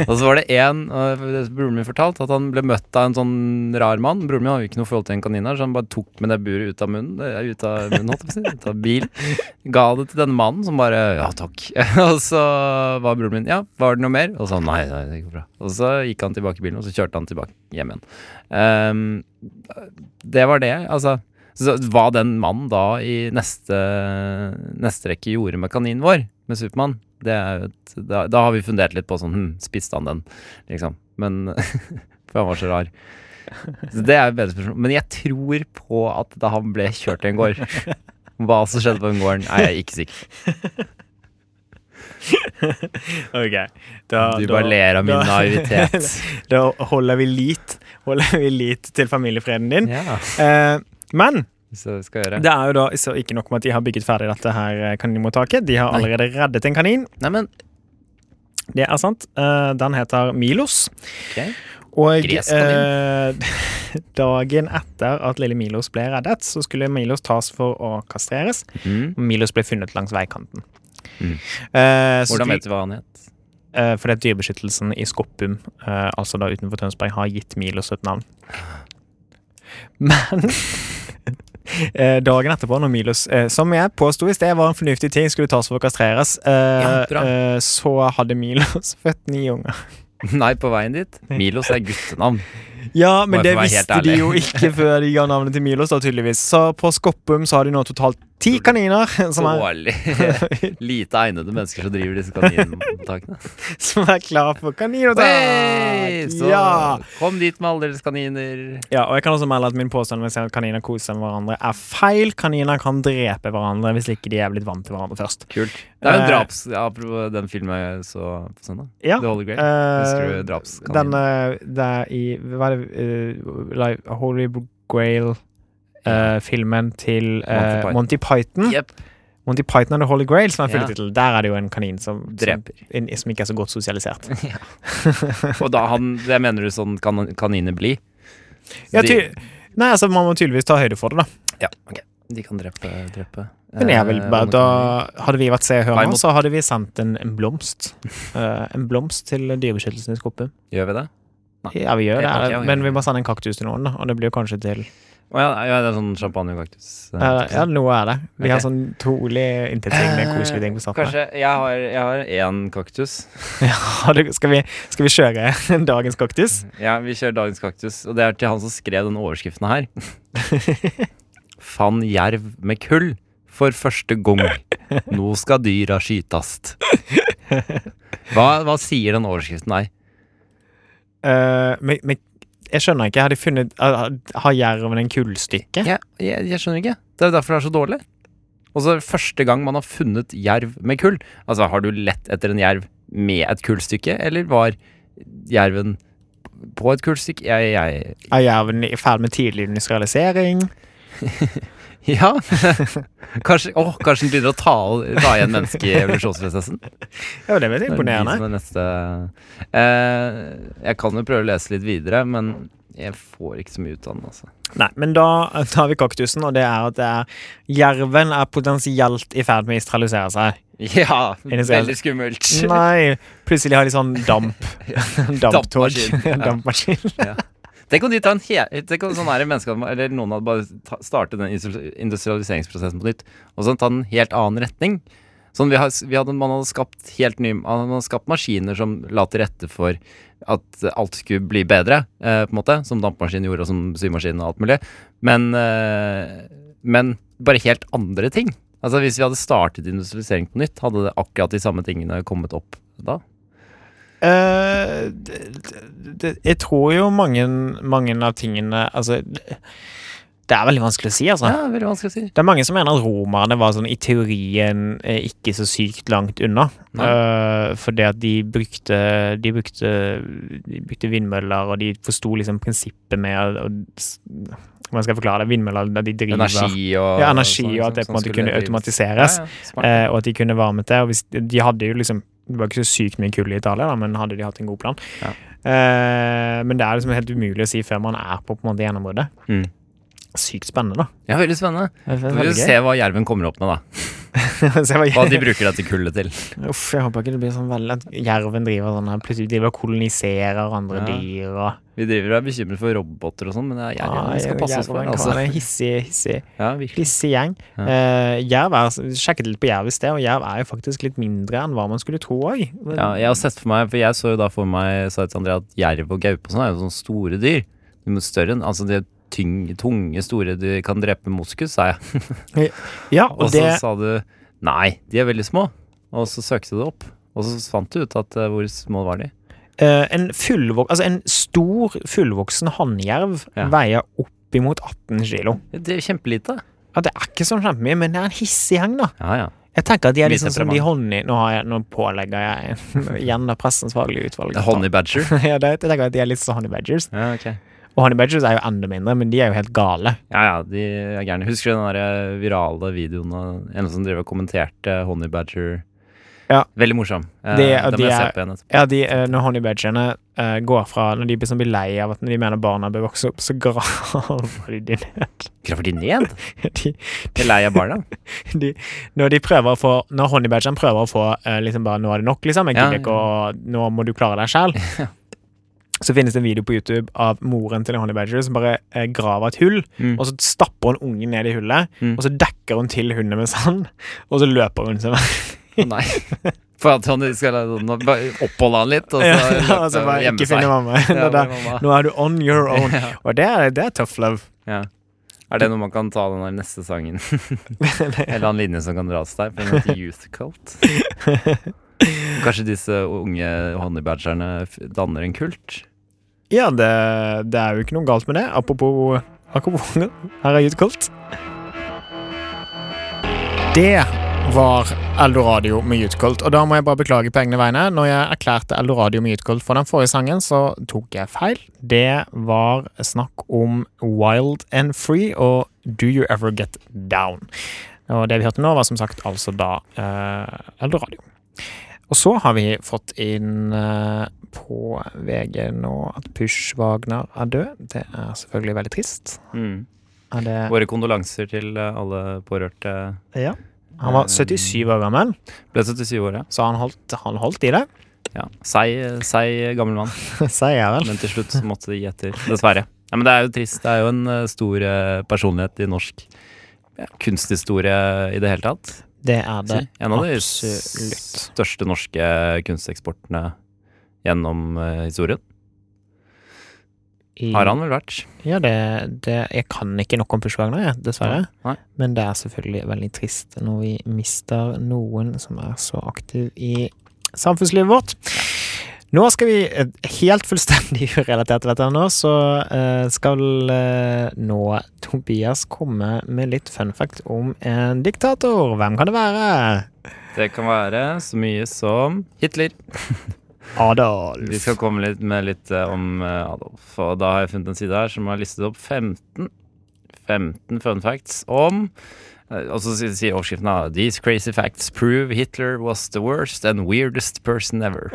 og så var det én Broren min fortalte at han ble møtt av en sånn rar mann. Broren min har jo ikke noe forhold til en kanin her, så han bare tok med det buret ut av munnen. Det er ut av munnen, holdt jeg på å si. Ut av bil. Ga det til denne mannen, som bare Ja, takk. og så var broren min Ja, var det noe mer? Og så nei, nei, det går bra. Og så gikk han tilbake i bilen, og så kjørte han tilbake hjem igjen. Ehm, det var det, altså. Så hva den mannen da i neste, neste rekke gjorde med kaninen vår, med Supermann, det er jo et da, da har vi fundert litt på sånn hm, Spiste han den, liksom? Men For han var så rar. Så det er et bedre spørsmål. Men jeg tror på at da han ble kjørt til en gård Hva som skjedde på den gården, er jeg ikke sikker på. Ok, da, Du da- bare ler av min da- naivitet. Da holder vi lit Holder vi lit til familiefreden din. Ja, Eh, men hvis jeg skal gjøre det er jo da så ikke nok med at de har bygget ferdig dette her eh, kaninmottaket. De har allerede reddet en kanin. Nei, men Det er sant. Eh, den heter Milos. ok. Og Greskanin. eh, dagen etter at lille Milos ble reddet, så skulle Milos tas for å kastreres. Mm. Milos ble funnet langs veikanten. Mm. Eh, så Hvordan de- vet du hva han het? Eh, fordi at dyrebeskyttelsen i Skoppum, eh, altså da utenfor Tønsberg, har gitt Milos et navn. Men eh, dagen etterpå, når Milos, eh, som jeg påsto i sted var en fornuftig ting, skulle tas for å kastreres, eh, Ja, bra. eh, så hadde Milos født ni unger. Nei, på veien dit? Milos er guttenavn. Ja, Må men jeg det få være helt visste de ærlig? jo ikke før de ga navnet til Milos, da, tydeligvis. Så på Skoppum så har de nå totalt ti kaniner som er, Dårlig. Lite egnede mennesker som driver disse kaninmottakene. som er klar for Hey, kaninuttak. så Ja. kom dit med alle deres kaniner. Ja, og jeg kan også melde at min påstand om at kaniner koser seg med hverandre, er feil. Kaniner kan drepe hverandre hvis ikke de er blitt vant til hverandre først. Kult. Det er jo en Eh, draps... ja, Apropos den filmen jeg så på søndag. Ja, The Holy Grail. eh, Husker du drapskaninen? Den eh, det er i Hva er det eh, like, Holy Grail-filmen til eh, Monty Monty Python. Jepp. Monty Python and The Holy Grail, som er Ja. fylletittel. Der er det jo en kanin som Dreper. Som, en, som ikke er så godt sosialisert. Og da han Det mener du sånn kan, kaniner bli? Så Ja, de- ty Nei, altså, Man må tydeligvis ta høyde for det, da. ja, ok. De kan drepe, drepe. Men jeg vil eh, bare, andre da kaniner. Hadde vi vært Se og Hør Nei, nå, mot- så hadde vi sendt en, en blomst. Eh, en blomst til Dyrebeskyttelsen i Skoppum. Gjør vi det? Ja, vi gjør Det det, kan ikke jeg men gjøre. vi må sende en kaktus til noen, da. Og det blir jo kanskje til Å ja, ja, det er sånn champagnekaktus. eh, Ja, ja, noe er det. Vi Ok. har sånn trolig inntettslignende Eh, koselige ting på starten. her. Kanskje Jeg har, jeg har én kaktus. Har du- Skal vi, skal vi kjøre dagens kaktus? Ja, Vi kjører dagens kaktus, og det er til han som skrev den overskriften her. Fann jerv med kull for første gang. Nå skal dyra skytast. Hva, hva sier den overskriften her? Eh, men, men jeg skjønner ikke. Har de funnet har- Har jerven en kullstykke? Jeg, jeg, jeg skjønner ikke. Det er jo derfor det er så dårlig. Og så er det første gang man har funnet jerv med kull. Altså, har du lett etter en jerv med et kullstykke, eller var jerven på et kullstykke? Jeg, jeg, Er jerven i ferd med tidlig industrialisering? Ja. kanskje, åh, kanskje den begynner å ta, ta igjen mennesket i evolusjonsprosessen. Ja, det er litt Det er de imponerende. som er neste- Eh, jeg kan jo prøve å lese litt videre, men jeg får ikke så mye ut av den. Altså. Nei, men da tar vi kaktusen, og det er at det er jerven er potensielt i ferd med å industrialisere seg. Ja, det så- veldig skummelt. Nei, plutselig har de sånn damp. Damptog. Dampmaskin. Dampmaskin. Ja. Tenk om de tar en he- Tenk om sånn her mennesker Eller noen hadde bare ta- startet den industri- industrialiseringsprosessen på nytt, og så tatt en helt annen retning. Sånn vi har, vi hadde, Man hadde skapt helt ny Man hadde skapt maskiner som la til rette for at alt skulle bli bedre, eh, på en måte. Som dampmaskinen gjorde, og som symaskinen og alt mulig. Men, eh, men bare helt andre ting. Altså Hvis vi hadde startet industrialisering på nytt, hadde det akkurat de samme tingene kommet opp da? Eh, d- d- d- jeg tror jo mange, mange av tingene Altså, d- det er veldig vanskelig å si, altså. Ja, veldig vanskelig å si. Det er mange som mener at romerne var sånn i teorien eh, ikke så sykt langt unna. Nei. Eh, fordi at de brukte, de brukte De brukte vindmøller, og de forsto liksom prinsippet med å- å s- Hvordan skal jeg forklare det? Vindmøller der de driver Energi og ja, energi, sånn, og at det på som- en som måte kunne skulle drives. automatiseres. Ja, ja, smart. Eh, og at de kunne varmet det. Og hvis, de hadde jo liksom Det var ikke så sykt mye kull i Italia, da, men hadde de hatt en god plan. Ja. Eh, men det er liksom helt umulig å si før man er på, på en måte gjennombruddet. Mm. Sykt spennende, da. Ja, veldig spennende. Det er Vi får veldig gøy. se hva jerven kommer opp med, da. Så jeg Hva var- de bruker dette kullet til. Uff, jeg håper ikke det blir sånn veldig at jerven driver sånn her, plutselig driver og koloniserer andre Ja. dyr og Vi driver og er bekymret for roboter og sånn, men det er jerven vi skal passe oss for. Jerven kan Altså. være en hissig, hissig, Ja, virkelig. hissig gjeng. Ja. Eh, jerv er, sjekket litt på jerv i sted, og jerv er jo faktisk litt mindre enn hva man skulle tro òg. Ja, jeg har sett for meg, for jeg så jo da for meg, sa jeg til Andrea, at jerv og gaupe og sånn er jo sånne store dyr. De er større enn, altså de er tyng, tunge, store, de kan drepe moskus, sa jeg. Ja, Og og så det sa du, nei, de er veldig små. Og så søkte du opp, og så fant du ut at eh, hvor små var de. eh, en, fullvok altså en stor fullvoksen hannjerv Ja. veier oppimot 18 kilo. Det er kjempelite. Ja, det er ikke sånn kjempemye, men det er en hissig gjeng, da. Ja, ja. Jeg tenker at de Mye er liksom som de honning... Nå, har jeg, nå pålegger jeg igjen da pressens faglige utvalg. Det er Honey badger. ja, det, jeg tenker at de er litt som honey badgers. Ja, ok. Og honey badgers er jo enda mindre, men de er jo helt gale. Ja, ja, de er gærne. Husker du den der eh, virale videoen av en som drev og kommenterte Honey Badger? Ja. Veldig morsom. Eh, Det- og den de må jeg er- se på igjen etterpå. Ja, de, eh, når honey badgerne eh, går fra Når de blir, sånn blir lei av at de mener barna bør vokse opp, så graver de ned. Graver de ned? De, Jeg er lei av barna. de, når de prøver å få Når honey badgerne prøver å få eh, liksom bare 'Nå er det nok, liksom. Jeg Ja, gidder ikke å Nå må du klare deg sjæl'. Så finnes det en video på YouTube av moren til en honey badger som bare eh, graver et hull. Mm. Og så stapper hun ungen ned i hullet, Mm. og så dekker hun til hunden med sand, og så løper hun seg vekk. Nei. For at han skal nå bare oppholde han litt, og så løpe Ja, og så bare og gjemme ikke seg. finne mamma. Ja, Det der, mamma. Nå er du on your own. Og det er, det er tough love. Ja. Er det noe man kan ta den der neste sangen? Eller en linje som kan dras der? For den heter Youth Cult. Kanskje disse unge honey badgerne f- danner en kult? Ja, det, det er jo ikke noe galt med det. Apropos Apropos Her er Jutkoldt. Det var Eldoradio med Jutkoldt. Og da må jeg bare beklage på egne vegne. Når jeg erklærte Eldoradio med Jutkoldt for den forrige sangen, så tok jeg feil. Det var snakk om Wild and Free og Do You Ever Get Down. Og det vi hørte nå, var som sagt altså da eh, Eldoradio. Og så har vi fått inn eh, på VG nå at Push Wagner er død. Det er selvfølgelig veldig trist. Mm. Er det, Våre kondolanser til eh, alle pårørte. ja. Han var 77 år gammel, Ble 77 år, ja. så han holdt, han holdt i det. ja. Seig, seig gammel mann. Sier jeg vel. Men til slutt så måtte de gi etter, dessverre. Ja, men det er jo trist. Det er jo en eh, stor eh, personlighet i norsk ja, kunsthistorie i det hele tatt. Det er det. en av de absolutt. største norske kunsteksportene gjennom eh, historien. I- Har han vel vært. Ja, det, det Jeg kan ikke nok om Push Wagner, jeg, dessverre. Nei. Men det er selvfølgelig veldig trist når vi mister noen som er så aktiv i samfunnslivet vårt. Nå skal vi eh, helt fullstendig urelatert til dette her nå, så eh, skal eh, nå Tobias komme med litt fun fact om en diktator. Hvem kan det være? Det kan være så mye som Hitler. Adolf. Vi skal komme litt med litt eh, om eh, Adolf. Og da har jeg funnet en side her som har listet opp 15 15 fun facts om eh, Og så sier sier overskriften da These crazy facts prove Hitler was the worst and weirdest person ever.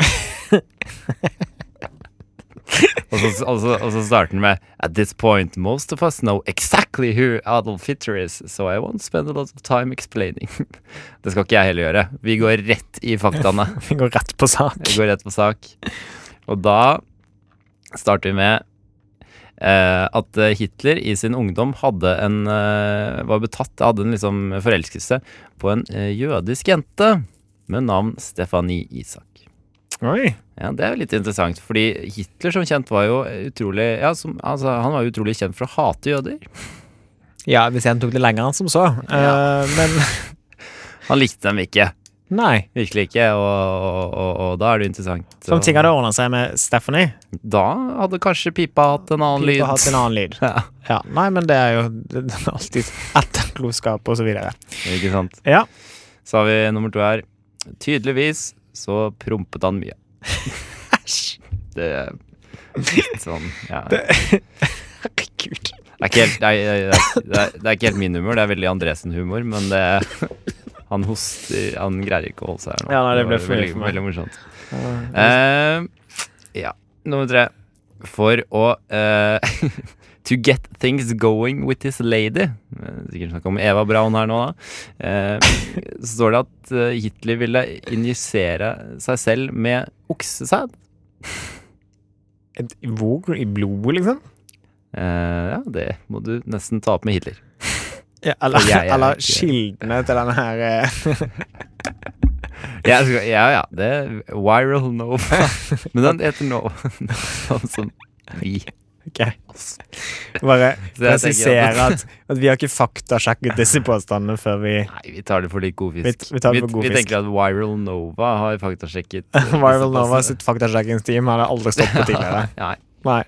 og, så, og, så, og så starter den med At this point most of us know exactly who Adolf Hitler is, so I won't spend a lot of time explaining. Det skal ikke jeg heller gjøre. Vi går rett i faktaene. Vi går rett på sak. Jeg går rett på sak. Og da starter vi med eh, at eh, Hitler i sin ungdom hadde en eh, var betatt, hadde en liksom forelskelse på en eh, jødisk jente med navn Stefanie Isak. Oi. Ja, Det er jo litt interessant, fordi Hitler som kjent var jo utrolig ja, som, altså, Han var jo utrolig kjent for å hate jøder. Ja, hvis jeg tok det lenger enn som så. Eh, men Han likte dem ikke. nei. Virkelig ikke. Og, og, og, og da er det jo interessant. Som ting hadde ordna seg med Stephanie. Da hadde kanskje pipa hatt en annen Pipa lyd. hatt en annen lyd. Ja. Ja, nei, men det er jo det er alltid etterklokskap og så videre. Ikke sant? Ja. Så har vi nummer to her. Tydeligvis så prompet han mye. Det er litt sånn ja. Det Herregud. er ikke helt, det er, det er, det er ikke helt min humor, det er veldig Andresen-humor, men det Han hoster Han greier ikke å holde seg her nå. Ja, nei, det ble var for mye veldig, for meg. veldig morsomt. Eh, ja. Nummer tre. For å eh, To Get Things Going With This Lady. Eh, Sikkert snakk om Eva Braun her nå, da. Eh, Så står det at eh, Hitler ville injisere seg selv med oksesæd. Et Hvor i blodet, liksom? Eh, ja, det må du nesten ta opp med Hitler. Ja, eller, For jeg er eller ikke- kildene til denne her eh, Ja, jeg skal- ja, ja. Det er viral Nova. Men den heter Nova. Sånn som vi. Ok. Bare Så jeg tenker presisere at, at vi har ikke faktasjekket disse påstandene før vi Nei, vi tar det for litt god fisk. Vi- vi tar det for god vi fisk. tenker at Viral Nova har faktasjekket Viral Nova sitt faktasjekkingsteam hadde aldri stoppet tidligere. Nei. Nei.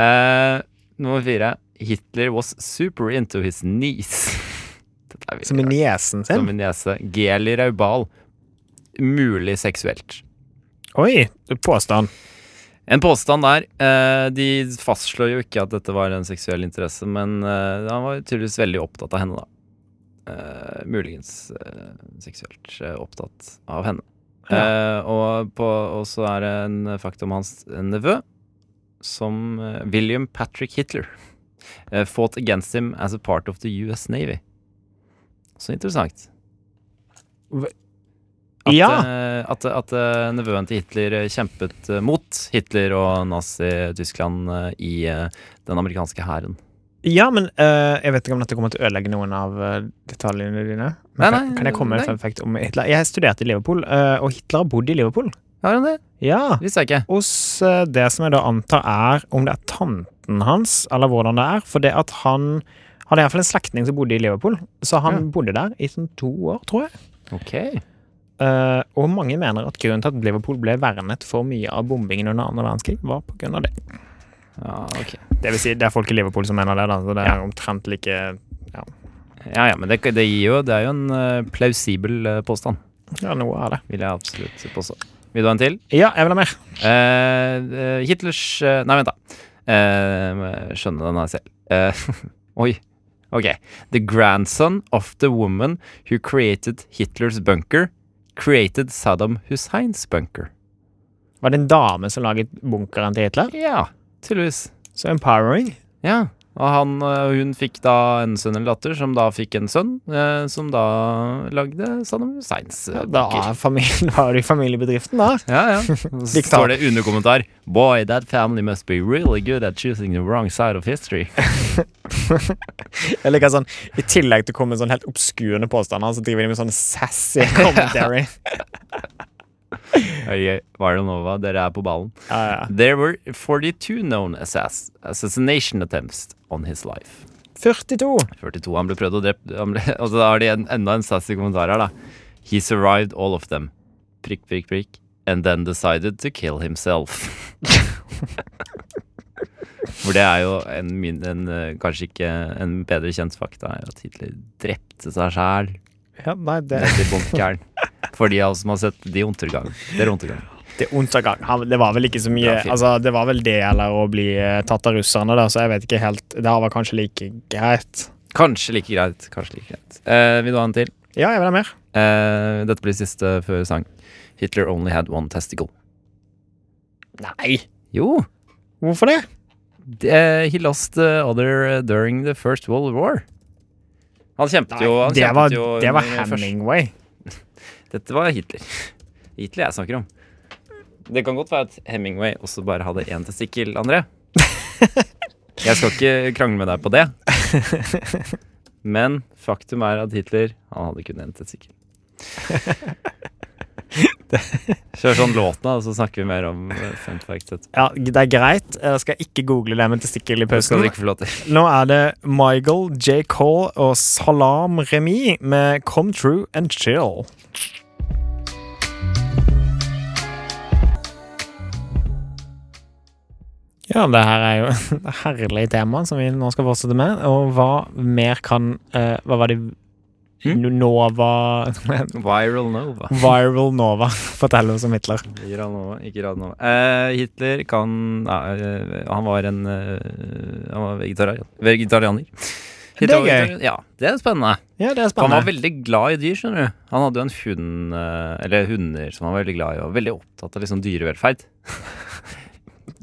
Eh, nummer fire. Hitler was super into his niece. Dette er virkelig Som i rart. niesen Som sin. en niese. Geli Raubal. Mulig seksuelt. Oi, påstand. En påstand der. eh, de fastslår jo ikke at dette var en seksuell interesse, men eh, han var tydeligvis veldig opptatt av henne, da. Eh, muligens eh, seksuelt eh, opptatt av henne. Eh, og, på, og så er det en fakta om hans nevø, som eh, William Patrick Hitler. eh, fought against him as a part of the US Navy. Så interessant. Hva- At, Ja. eh, at, at eh, nevøen til Hitler eh, kjempet eh, mot Hitler og Nazi-Tyskland eh, i eh, den amerikanske hæren. Ja, men eh, jeg vet ikke om dette kommer til å ødelegge noen av eh, detaljene dine. Men Nei, kan, nei, kan jeg komme nei. med en fun fact om Hitler? Jeg studerte i Liverpool, eh, og Hitler har bodd i Liverpool. Har han det? Ja. Visste jeg ikke. Hos eh, det som jeg da antar er om det er tanten hans, eller hvordan det er. For det at han Han er iallfall en slektning som bodde i Liverpool, så han bodde der i sånn to år, tror jeg. Ok. Eh, og mange mener at grunnen til at Liverpool ble vernet for mye av bombingen under andre verdenskrig, var på grunn av det. Ja, ok. Det vil si, det er folk i Liverpool som mener det, da, så det er omtrent like ja, ja men det, det, gir jo, det er jo en eh, plausibel eh, påstand, Ja, noe av det. vil jeg absolutt påstå. Vil du ha en til? Ja, jeg vil ha mer. Eh, eh, Hitlers eh, Nei, vent, da. Eh, må jeg skjønne den her selv. Eh, oi. Ok. The grandson of the woman who created Hitlers bunker, created Saddam Husseins bunker. Var det en dame som laget bunkeren til Hitler? Ja, tydeligvis. Så empowering. Ja. Og han, eh, hun fikk da en sønn eller datter, som da fikk en sønn, eh, som da lagde Saddam Husseins eh, Ja, Da bunker. er familien, da er det familiebedriften, da. Ja, ja. Og Så står det underkommentar Boy, that family must be really good at choosing the wrong side of history. Jeg liker sånn, I tillegg til å komme med sånn helt obskurende påstander, så driver de med sånn sassy commentary. Øye, Viral Nova, dere er på ballen. ja, ja. There were 42 known assass assassination attempts on his life. 42. 42, han ble prøvd og drept. Han ble, og så har de en, enda en sassy kommentar her, da. He survived all of them. Prikk, prikk, prikk. And then decided to kill himself. For det er jo en, min, en eh, kanskje ikke en bedre kjent fakta, er jo at Hitler drepte seg sjæl Ja, nei, det, nedi bunkeren. For de av oss som har sett De Untergang. Der Untergang. det er Untergang. Han, det var vel ikke så mye Ja, fint. altså, Det var vel det eller å bli eh, tatt av russerne, da, så jeg vet ikke helt Det her var kanskje like greit. Kanskje like greit. Kanskje like greit. Eh, vil du ha en til? Ja, jeg vil ha mer. Eh, dette blir siste før sang. Hitler only had one testicle. Nei. Jo, Hvorfor det? det, eh, he lost the other eh, during the first world war. Han kjempet jo, han det kjempet var, jo det var under først- Hemingway. Dette var Hitler. Hitler jeg snakker om. Det kan godt være at Hemingway også bare hadde én testikkel, André. Jeg skal ikke krangle med deg på det. Men faktum er at Hitler, han hadde kun én testikkel. Kjør sånn låten, da, så snakker vi mer om eh, fun facts etterpå. Ja, det er greit. Jeg skal ikke google det med testikkel i Det skal pausen. du ikke få lov til. Nå er det Michael, J. Cole og Salam Remi med Come True and Chill. Ja, det her er jo et herlig tema som vi nå skal fortsette med. Og hva mer kan eh, Hva var det Hm? No- Nova Viral Nova. Viral Nova forteller oss om Hitler. Ikke rad nå, ikke rad nå. Eh, Hitler kan nei, eh, Han var en eh, Han var vegetarian, vegetarianer. Det er var gøy. vegetarian. Ja, det er spennende. Ja, det For Han er var spennende. veldig glad i dyr, skjønner du. Han hadde jo en hund, eh, eller hunder, som han var veldig glad i, og veldig opptatt av liksom dyrevelferd.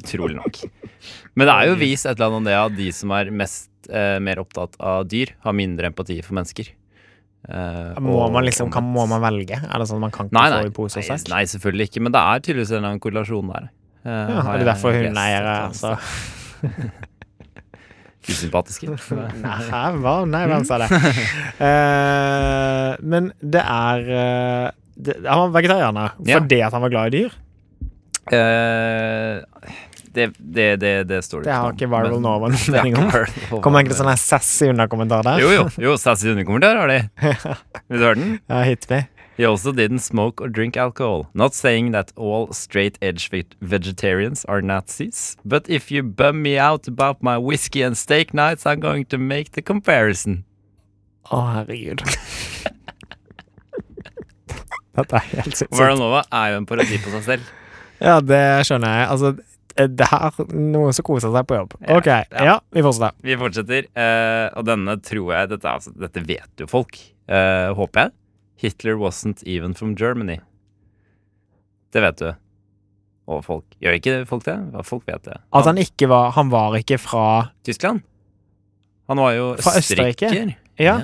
Utrolig nok. Men det er jo vist et eller annet om det at de som er mest eh, mer opptatt av dyr, har mindre empati for mennesker. Eh, Må og- man liksom, hva må man velge? Er det sånn at man kan ikke Nei, nei, få i pose nei, og sekk? nei, selvfølgelig ikke. Men det er tydeligvis en eller annen korrelasjon der. Eh, Ja, har er det jeg derfor lest altså? et hundeeiere eller er annet så sted. usympatiske? Nei, hva? Nei, hvem sa det? Mm. Eh, men det er eh, det, Han var vegetarianer Ja. fordi at han var glad i dyr. Eh, det, det, det, det står Det har noe om, ikke Viral men- Nova noen Det har mening ikke om. sånn Viral Nova Kom enkelte noe sånne sassy underkommentar der. Jo, jo. jo Sassy underkommentar har de. Vil du høre den? Ja, hit me. He also didn't smoke or drink alcohol. Not saying that all straight edge veg- vegetarians are Nazis, but if you bum me out about my whiskey and steak nights, I'm going to make the comparison. Å, herregud. Dette er helt sinnssykt. Viral Nova er jo en parodi på seg selv. Ja, det skjønner jeg. Altså, eh, det her Noen som koser seg på jobb. Ja, OK. ja. Ja, vi fortsetter. Vi fortsetter, eh, og denne tror jeg Dette, er altså, dette vet jo folk, eh, håper jeg. Hitler wasn't even from Germany. Det vet du. Og folk Gjør ikke folk det? Ja, folk vet det. At han ikke var Han var ikke fra Tyskland? Han var jo Fra Østerrike? østerriker. Ja.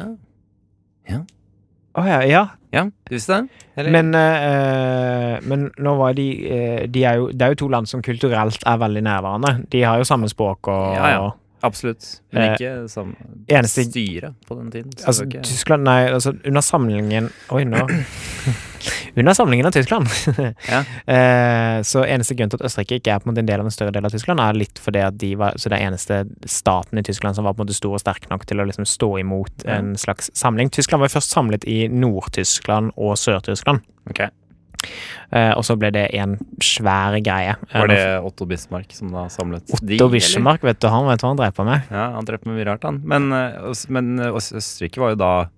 Å ja, ja. Ja, du visste det? Eller? Men, eh, men nå var de, eh, de er jo, Det er jo to land som kulturelt er veldig nærværende. De har jo samme språk og Ja, ja. Absolutt. Men Eh, ikke som eneste- styre på den tiden. så Altså, det var ikke- Tyskland Nei, altså under samlingen Oi, nå Under samlingen av Tyskland Ja. eh, Så eneste grunn til at Østerrike ikke er på en måte en del av en større del av Tyskland, er litt fordi at de var Så det er eneste staten i Tyskland som var på en måte stor og sterk nok til å liksom stå imot Ja. en slags samling. Tyskland var jo først samlet i Nord-Tyskland og Sør-Tyskland, Ok. eh, og så ble det en svær greie. Eh, Var det Otto Bismarck som da samlet de, Otto eller? Bismarck, vet du, han vet hva han drev på med. Ja, han drev på med mye rart, han. Men, eh, Øs- men eh, Øs- Østerrike var jo da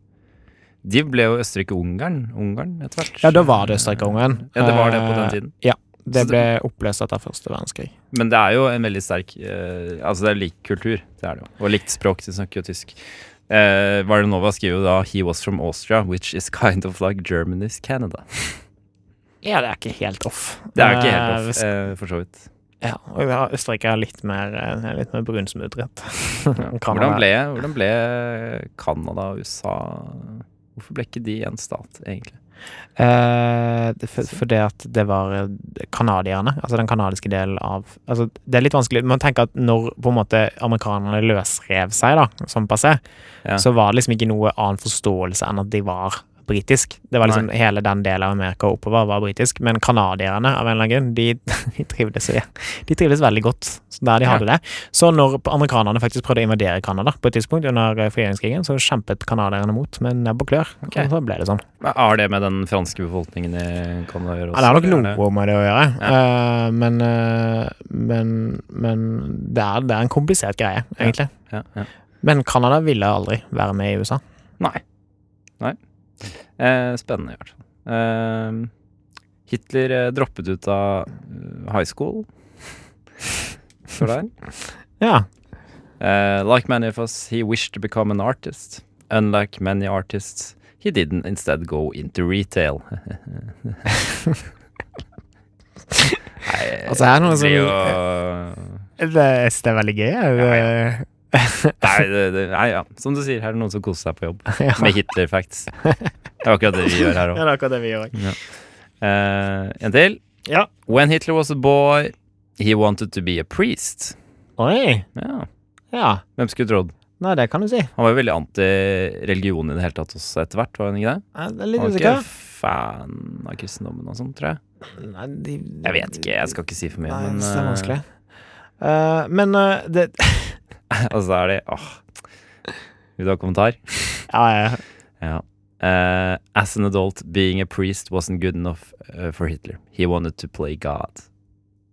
De ble jo Østerrike-Ungarn Ungarn etter hvert. Ja, da var det Østerrike-Ungarn. Eh, Ja, det var det på den tiden. Ja, det Så det- ble oppløst etter første verdenskrig. Men det er jo en veldig sterk eh, Altså, det er lik kultur. Det er det jo. Og likt språk. De snakker jo tysk. Eh, Vardanova skriver jo da 'He was from Austria, which is kind of like Germany's Canada'. Ja, det er ikke helt off. Det er jo ikke helt Eh, off, hvis- eh, for så vidt. Ja, og ja, Østerrike er litt mer, eh, litt mer brunsmudret. Ja. Kan Hvordan, være. ble, hvordan ble Canada og USA Hvorfor ble ikke de en stat, egentlig? Eh, det- for, for det at det var eh, kanadierne, altså den kanadiske delen av altså Det er litt vanskelig. Man tenker at når på en måte amerikanerne løsrev seg, da, som passé, Ja. så var det liksom ikke noe annen forståelse enn at de var britisk. Det var liksom Hele den delen av Amerika og oppover var britisk, men canadierne av en eller annen grunn, de, de, trivdes, de trivdes veldig godt der de Ja. hadde det. Så når amerikanerne faktisk prøvde å invadere Canada på et tidspunkt under eh, frigjøringskrigen, så kjempet canadierne mot med nebb og klør, Ok. og så ble det sånn. Men Har det med den franske befolkningen i Canada å gjøre? Ja, det også, har nok eller er noe med det å gjøre, Eh, men, eh, men, men det, er, det er en komplisert greie, egentlig. det- Ja, ja. Men Canada ville aldri være med i USA. Nei. Nei. Eh, spennende, i hvert fall. Eh, Hitler eh, droppet ut av eh, high school. For der. Ja. Eh, like many of us, he wished to become an artist. Unlike many artists, he didn't instead go into retail. Nei, Altså, her er noe eh, det som- blir jo- Det, jeg synes det er veldig gøy. jeg. Nei, det, det, nei, ja. Som du sier, her er det noen som koser seg på jobb Ja. med Hitler-facts. Det er akkurat det vi gjør her Ja, òg. det er akkurat det vi gjør. en til. Ja. When Hitler was a boy, he wanted to be a priest. Oi. Ja, Ja. Hvem skulle trodd? Nei, det kan du si. Han var jo veldig anti-religion i det hele tatt også etter hvert, var han ikke det? Jeg er litt Han var ikke usikker. fan av kristendommen og sånn, tror jeg. Nei, de- Jeg vet ikke, jeg skal ikke si for mye, Nei, jeg men synes det er eh, vanskelig. Eh, men eh, det altså er det Åh. Vil du ha kommentar? Ja, ja. Ja. Eh, as an adult, being a priest wasn't good enough eh, for Hitler. He wanted to play God.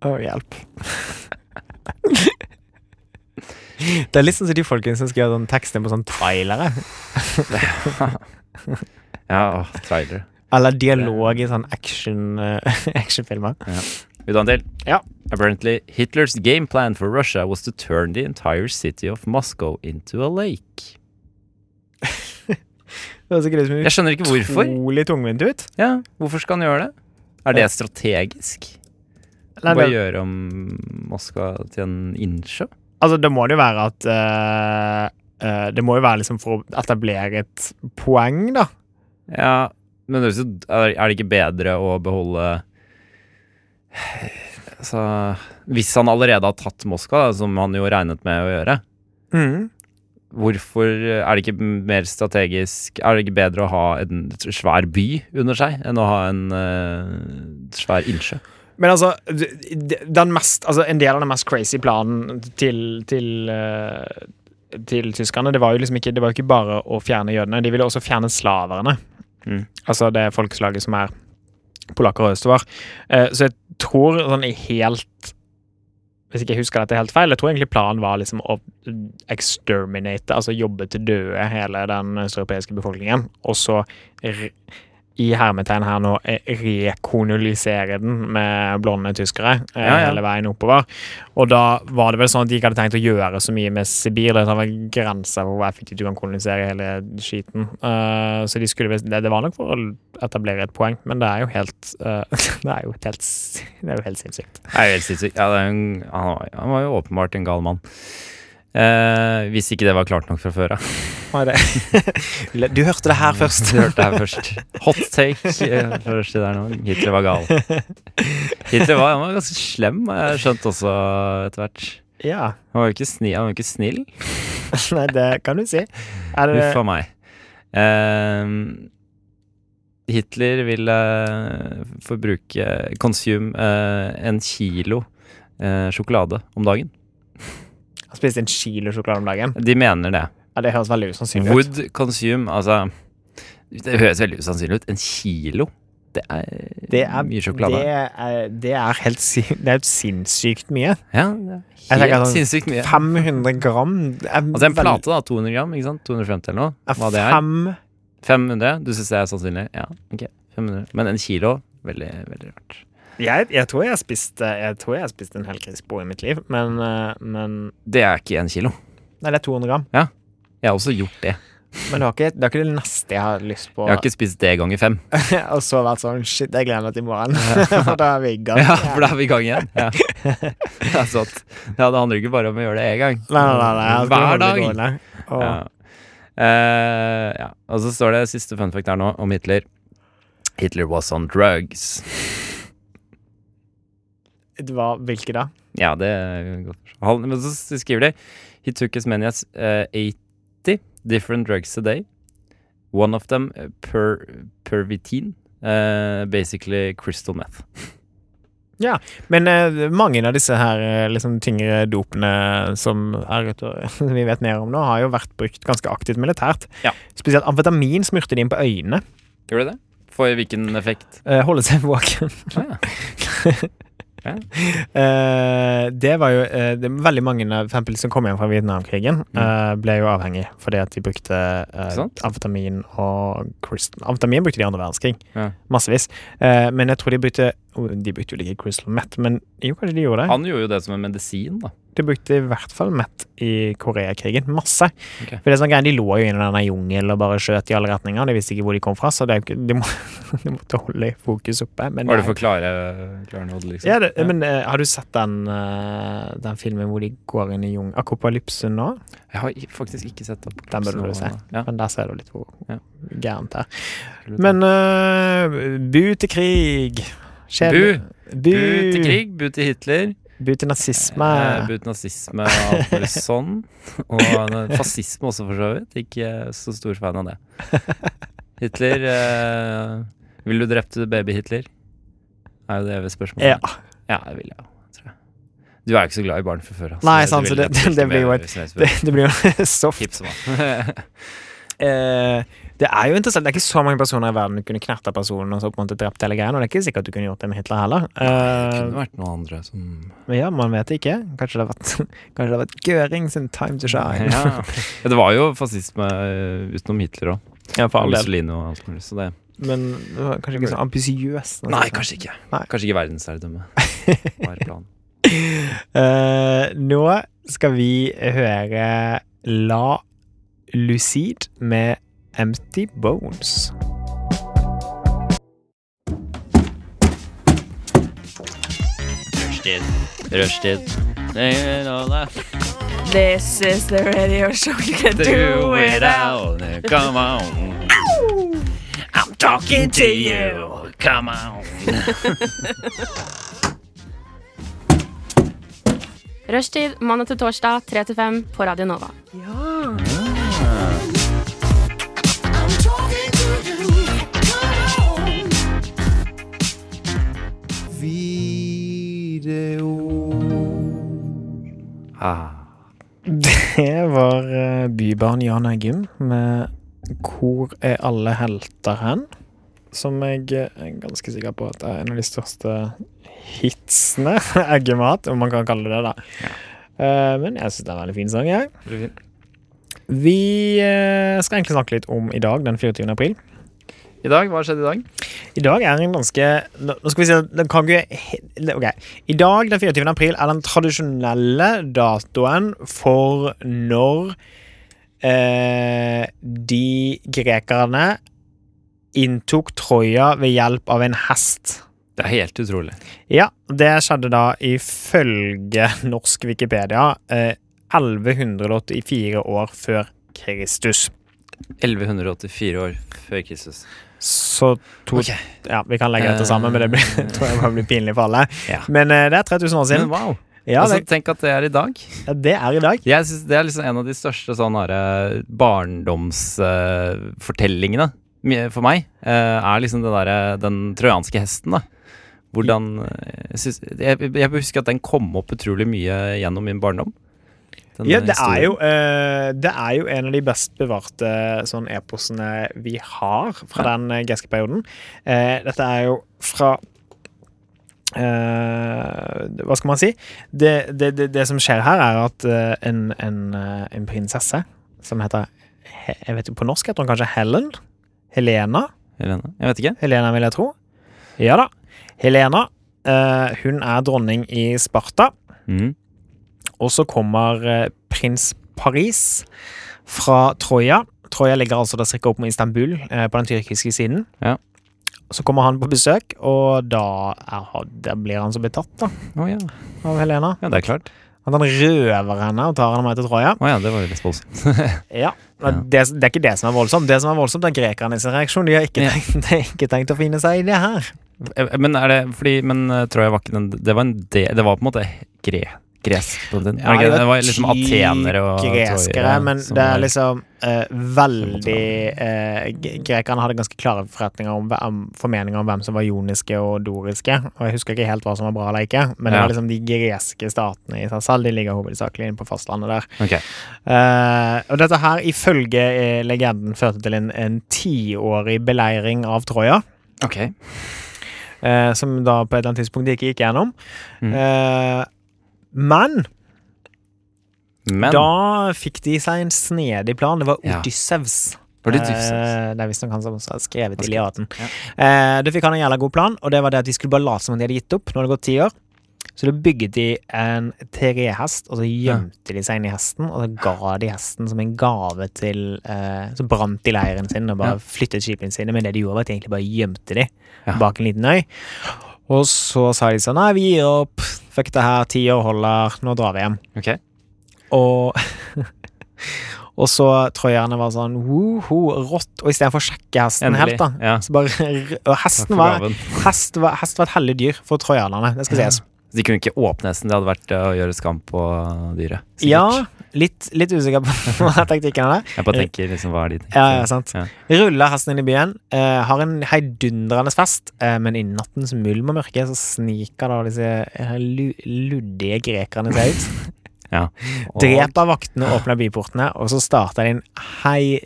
Å, hjelp. det er litt sånn som de folkene som skriver sånn tekster på sånn trailere. Ja, åh, trailere. Eller dialog i sånn action, eh, actionfilmer. Vil du ha en til? Ja. Apparently, Hitler's game plan for Russia was to turn the entire city of Moscow into a lake. Det høres ikke ut som Jeg skjønner ikke hvorfor. utrolig tungvint ut. Ja, Hvorfor skal han gjøre det? Er det strategisk? Eller, Bare det, gjøre om Moskva til en innsjø? altså, det må det jo være at eh, eh, Det må jo være liksom for å etablere et poeng, da. Ja, men det høres jo- er er det ikke bedre å beholde altså, Hvis han allerede har tatt Moskva, da, som han jo regnet med å gjøre, Mm. hvorfor eh, er det ikke mer strategisk Er det ikke bedre å ha en svær by under seg enn å ha en eh, svær innsjø? Men altså, d- d- den mest, altså, en del av den mest crazy planen til, til, eh, til tyskerne, det var jo liksom ikke, det var jo ikke bare å fjerne jødene, de ville også fjerne slaverne. Mm. Altså det folkeslaget som er polakker og østover. Eh, Så jeg tror sånn i helt hvis ikke jeg husker dette helt feil, jeg tror egentlig planen var liksom å exterminate, altså jobbe til døde hele den østeuropeiske befolkningen, og så r- i hermetegn her nå eh, rekolonisere den med blonde tyskere eh, Ja, ja. hele veien oppover. Og da var det vel sånn at de ikke hadde tenkt å gjøre så mye med Sibir. Det var grenser for hvor effektivt du kan kolonisere hele skiten. Eh, så de skulle, vel- det, det var nok for å etablere et poeng, men det er jo helt eh, Det er jo helt, s- det er jo helt sinnssykt. Det er jo helt sinnssykt. Ja, det er en, han, var, han var jo åpenbart en gal mann. Eh, hvis ikke det var klart nok fra før av. Hva er det? Du hørte det her først. Du hørte det her først. Hot take eh, først i der nå. Hitler var gal. Hitler var, han var ganske slem, har jeg skjønt også etter hvert. Ja. Han var jo ikke, sni, han var jo ikke snill. Nei, det kan du si. Er det, Huff a meg. Ehm, Hitler ville forbruke Consume eh, en kilo eh, sjokolade om dagen. han spiste en kilo sjokolade om dagen. De mener det. Ja, det høres veldig usannsynlig ut. Would consume, altså Det høres veldig usannsynlig ut. En kilo? Det er, Det er, mye sjokolade. Det er, det er helt sin- det er jo sinnssykt mye. ja, det Jeg er tenker helt sånn sinnssykt mye. 500 gram. det er Altså en vel- plate, da. 200 gram, ikke sant? 250 eller er noe. Hva det er. Fem 500? Du syns det er sannsynlig? Ja, ok. 500. Men en kilo? Veldig, veldig rart. jeg, jeg tror jeg har spist Jeg tror jeg har spist en hel grisbo i mitt liv, men, eh, men Det er ikke en kilo. Nei, det er 200 gram. Jeg har også gjort det. Men det er ikke det, er ikke det neste jeg har lyst på. Jeg har ikke spist det ganger fem. og så vært sånn Shit, jeg gleder meg til i morgen. Og da er vi i gang. Ja, for da er vi i gang igjen. Ja. Det er sant. Ja, det handler ikke bare om å gjøre det én gang. Nei, nei, nei, nei, jeg skal holde Hver det dag. gående. Og, Ja. Eh, ja. Og så står det siste fun fact her nå om Hitler. Hitler was on drugs. Det var, hvilke da? Ja, det er godt. forstått. Han, men så skriver de He took as many as eh, 80 different drugs a day. One of them eh, per, pervitin. eh, basically crystal meth. Men eh, mange av disse her eh, liksom, tyngre dopene som er ute, og- som vi vet mer om nå, har jo vært brukt ganske aktivt militært. Ja. Spesielt amfetamin smurte de inn på øynene. Gjorde det det? For hvilken effekt? Eh, holde seg våken. Ah, Eh, det var jo eh, det var Veldig mange av for eksempel, som kom hjem fra Vietnamkrigen, eh, ble jo avhengig fordi at de brukte eh, Mm. Ikke sant? amfetamin og crystal Amfetamin brukte de i andre verdenskrig. Ja. Massevis. Eh, men jeg tror de brukte oh, De brukte jo ikke crystal meth, men jo, kanskje de gjorde det? ja. Han gjorde jo det som en medisin, da. De brukte i hvert fall mett i Koreakrigen. Masse. Ok. For det er sånn greie, De lå jo inne i denne jungelen og bare skjøt i alle retninger. De visste ikke hvor de kom fra, så det er jo ikke, de, må, de måtte holde fokus oppe. Men, Var det nei. for klare, klare nåde, liksom? ja, det, men eh, har du sett den, eh, den filmen hvor de går inn i jung... Akopalypse nå? Jeg har i- faktisk ikke sett opp Den burde du se. Ja, Men der ser du litt hvor Ja. gærent det er. skulle du ta. Men eh, bu til krig. Kjedelig. Bu. Bu til krig, bu til Hitler, Bu til nazisme. eh, bu til nazisme og alt mulig sånn. Og eh, fascisme også, for så vidt. Ikke så stor fan av det. Hitler eh, Vil du drepte baby-Hitler? Er jo det evige spørsmålet. Ja. ja, det vil jeg jo, tror jeg. Du er jo ikke så glad i barn fra før av. Nei, sant, så det- det blir jo et- Det, det blir jo soft Hipp som han. Eh, det er jo interessant. Det er ikke så mange personer i verden du kunne knerta personen og så på en måte drept hele greia. Og det er ikke sikkert du kunne gjort det med Hitler heller. Det Eh, kunne vært noen andre som men ja, man vet ikke. Kanskje det har vært, kanskje det har vært Göring sin time to shine. Ja. Ja, Det var jo fascisme eh, utenom Hitler òg. Ja, for all del. Mussolini og alt mulig. Så det Men det var kanskje ikke så ambisiøs. når det er sånn. ikke. Nei. Kanskje ikke verdensherredømme. Var planen. Eh, nå skal vi høre La Lucide med Empty Bones. Shake Rushtid. Rushtid. They ain't all I This is the radio show you can do do without. without. it. Come on. I'm talking to you. Come on. Rushtid mandag til torsdag 3 til 5 på Radio Nova. Ah. Det var eh, bybarn Jan Eggum med 'Hvor er alle helter hen?' Som jeg eh, er ganske sikker på at er en av de største hitsene Eggum har hatt, om man kan kalle det det. Eh, Men jeg syns det er en veldig fin sang, jeg. Vi eh, skal egentlig snakke litt om i dag, den 24. april. I dag, hva har skjedd i dag? I dag er en ganske Nå nå skal vi si at den kan ikke he- det- Ok. I dag, den 24. april, er den tradisjonelle datoen for når eh, de grekerne inntok Troja ved hjelp av en hest. Det er helt utrolig. Ja, det skjedde da ifølge norsk Wikipedia eh, 1184 år før Kristus. 1184 år før Kristus. Så to, Ok. Eh. ja, vi kan legge dette sammen, men det blir, tror jeg bare blir pinlig for alle. Ja. Men eh, det er 3000 år Men siden. wow! Ja, altså, det, tenk at det er i dag. ja, det er i dag. Jeg synes Det er liksom en av de største sånne barndomsfortellingene for meg. eh, er liksom det derre den trojanske hesten, da. Hvordan eh, jeg, synes, jeg, jeg husker at den kom opp utrolig mye gjennom min barndom. Den Ja, det er, historien. jo, eh, det er jo en av de best bevarte sånn eposene vi har fra den eh, greske perioden. Eh, dette er jo fra eh, Hva skal man si? Det, det, det, det som skjer her, er at eh, en, en, eh, en prinsesse som heter He- Jeg vet jo på norsk heter hun kanskje Helen? Helena? Helene? Jeg vet ikke. Helena, vil jeg tro. Ja da. Helena. eh, hun er dronning i Sparta. Mm. Og så kommer eh, prins Paris fra Troja. Troja ligger altså der cirka opp mot Istanbul eh, på den tyrkiske siden. Ja. Så kommer han på besøk, og da, er, han- da blir han så betatt da, Å ja. av Helena. ja, det er klart. At han røver henne og tar henne med til Troja. Å ja, det var jo litt voldsomt. Ja, men Det, det er ikke det som er voldsomt. Det som er voldsomt, er grekerne sin reaksjon. De har ikke Ja. tenkt, de har ikke tenkt å finne seg i det her. Eh, Men er det fordi Men eh, Troja var ikke den Det var, en de, det var på en måte gre, gresk på den var det, ikke det? det var liksom atenere og greskere, Troja men som det var- er liksom eh, veldig eh, g- Grekerne hadde ganske klare forretninger om, hve- om formeninger om hvem som var joniske og doriske, og jeg husker ikke helt hva som var bra eller ikke, men det Ja. var liksom de greske statene i seg selv, de ligger hovedsakelig inne på fastlandet der. Ok. Eh, og dette her, ifølge eh, legenden, førte til en, en tiårig beleiring av Troja Ok. eh, som da på et eller annet tidspunkt de ikke gikk gjennom. Mm. Eh, men, Men da fikk de seg en snedig plan. Det var Ja. Odyssevs. var det dypsens. Eh, det er visstnok han som også har skrevet skrevet, Iliaden. Eh, det fikk han en jævla god plan, og det var det at de skulle bare late som om de hadde gitt opp. Nå har det gått ti år. Så da bygget de en trehest, og så gjemte de seg inn i hesten, og så ga de hesten som en gave til eh, Så brant de leiren sin og bare Ja. flyttet skipene sine, men det de gjorde, var at de egentlig bare gjemte de Ja. bak en liten øy. Og så sa de sånn Nei, vi gir opp. Fuck det her. Ti år holder. Nå drar vi hjem. Ok. Og Og så trøyerne var sånn woho, rått. Og istedenfor å sjekke hesten Endelig. helt, da. Ja. Så bare, og Takk hesten for var, gaven. hest var Hest var et hellig dyr for trojanerne. Det skal Ja. sies. De kunne ikke åpne hesten. Det hadde vært eh, å gjøre skam på dyret. sikkert. Ja, litt, litt usikker på hva teknikken er der. Jeg bare tenker liksom, hva er de tenker? Ja, ja, sant. Ja. Ruller hesten inn i byen, eh, har en heidundrende fest, eh, men i nattens mulm og mørke så sniker da disse eh, lu luddige grekerne seg ut. Ja. Og- Dreper vaktene, åpner byportene, og så starter de en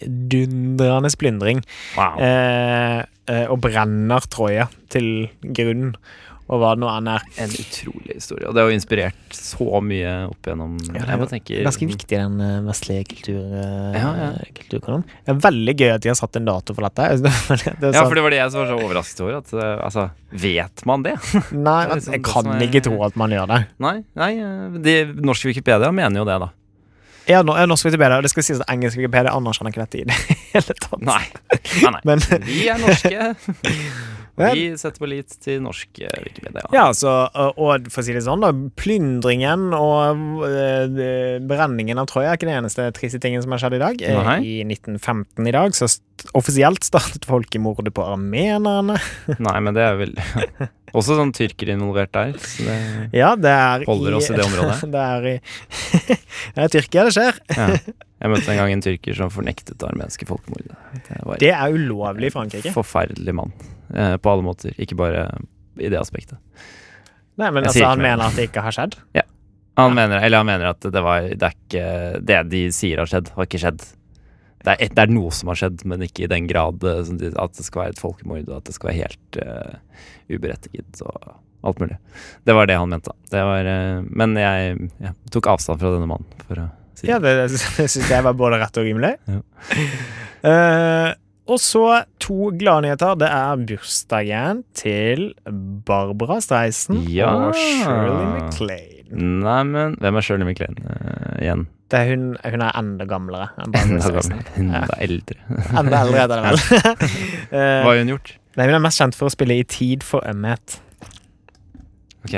heidundrende plyndring. Wow. eh, eh, og brenner Troja til grunnen, og hva det nå enn er. En utrolig historie. Og det har jo inspirert så mye opp gjennom det er Jeg jo bare tenker Ganske viktig, den eh, vestlige kultur, eh, Ja, ja. kulturkanonen. Det er veldig gøy at de har satt en dato for dette. Det er Ja, sånn- for det var det jeg som var så overrasket over. At, eh, altså, vet man det? Nei, Det er liksom jeg det kan som er- ikke tro at man gjør det. Nei, nei eh, de, norsk Wikipedia mener jo det, da. Ja, no- ja, norsk Wikipedia, og det skal sies at engelsk Wikipedia anerkjenner ikke dette i det hele tatt. Nei. nei, nei. Men, Vi er norske. Vel. Vi setter vår lit til norsk eh, Wikipedia. Ja, så, og, og for å si det sånn, da. Plyndringen og eh, de- brenningen av Troja er ikke det eneste triste tingen som har skjedd i dag. Eh, Nei. I 1915 i dag så st offisielt startet folkemordet på armenerne. Nei, men det er vel Også sånn tyrker involvert der. Så det, Ja, det er Holder oss i det området. det er i Det er Tyrkia det skjer. ja. Jeg møtte en gang en tyrker som fornektet det armenske folkemordet. Det var Det er ulovlig i Frankrike. en forferdelig mann. eh, På alle måter. Ikke bare i det aspektet. Nei, men Jeg altså, sier ikke han mer. mener at det ikke har skjedd. Han mener, eller han mener at det, var, det er ikke Det de sier har skjedd, har ikke skjedd. Det er, et, det er noe som har skjedd, men ikke i den grad eh, som de, at det skal være et folkemord, og at det skal være helt eh, uberettiget og alt mulig. Det var det han mente. da. Det var, eh, men jeg ja, tok avstand fra denne mannen. For å si Ja, det, det syns jeg var både rett og rimelig. Ja. Eh, og så to gladnyheter. Det er bursdagen til Barbara Streisen Ja. og Shirley MacLaine. Neimen, hvem er Shirley MacLaine eh, igjen? Det er hun, hun er enda gamlere enn Barbara Enda Streisen. gammel. Enda eldre. Enda eldre er det vel. Hva Eh, har hun gjort? nei, hun er mest kjent for å spille i Tid for ømhet. Ok.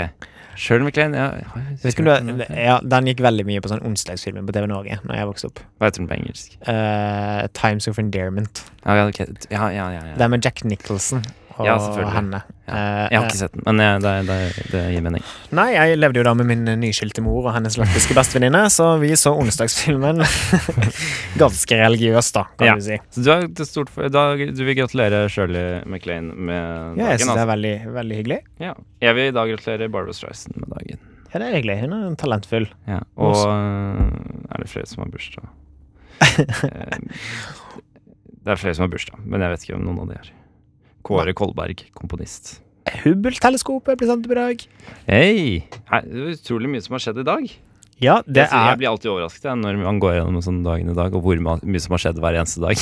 Shirley MacLaine, ja. Jeg vet ikke Mm, om du, ja, den gikk veldig mye på sånn onsdagsfilmer på TV Norge Når jeg vokste opp. Hva heter hun på engelsk? Eh, Times of Endearment. Ja, ja, ok. ja, ja, ja, ja. Det er med Jack Nicholson og Ja, selvfølgelig. henne. Ja. Eh, Jeg har ikke sett den, men jeg, det, det, det gir mening. Nei, jeg levde jo da med min nyskilte mor og hennes lesbiske bestevenninne, så vi så onsdagsfilmen ganske religiøst, da, kan Ja. du si. Så du, er til stort for, da, du vil gratulere Shirley MacLaine med Ja, jeg dagen. syns det altså. er veldig, veldig hyggelig. ja. Jeg vil i dag gratulere Barbara Streisand med dagen. Ja, det er hyggelig. Hun er talentfull. Ja. Og øh, er det flere som har bursdag? Eh, det er flere som har bursdag, men jeg vet ikke om noen av de er. Kåre Kolberg, komponist. Hubble-teleskopet blir sendt opp i dag. Hei! Hei, Det er utrolig mye som har skjedd i dag. Ja, det jeg, synes- jeg er blir alltid overrasket jeg, når man går gjennom sånne dagen i dag, og hvor ma- mye som har skjedd hver eneste dag.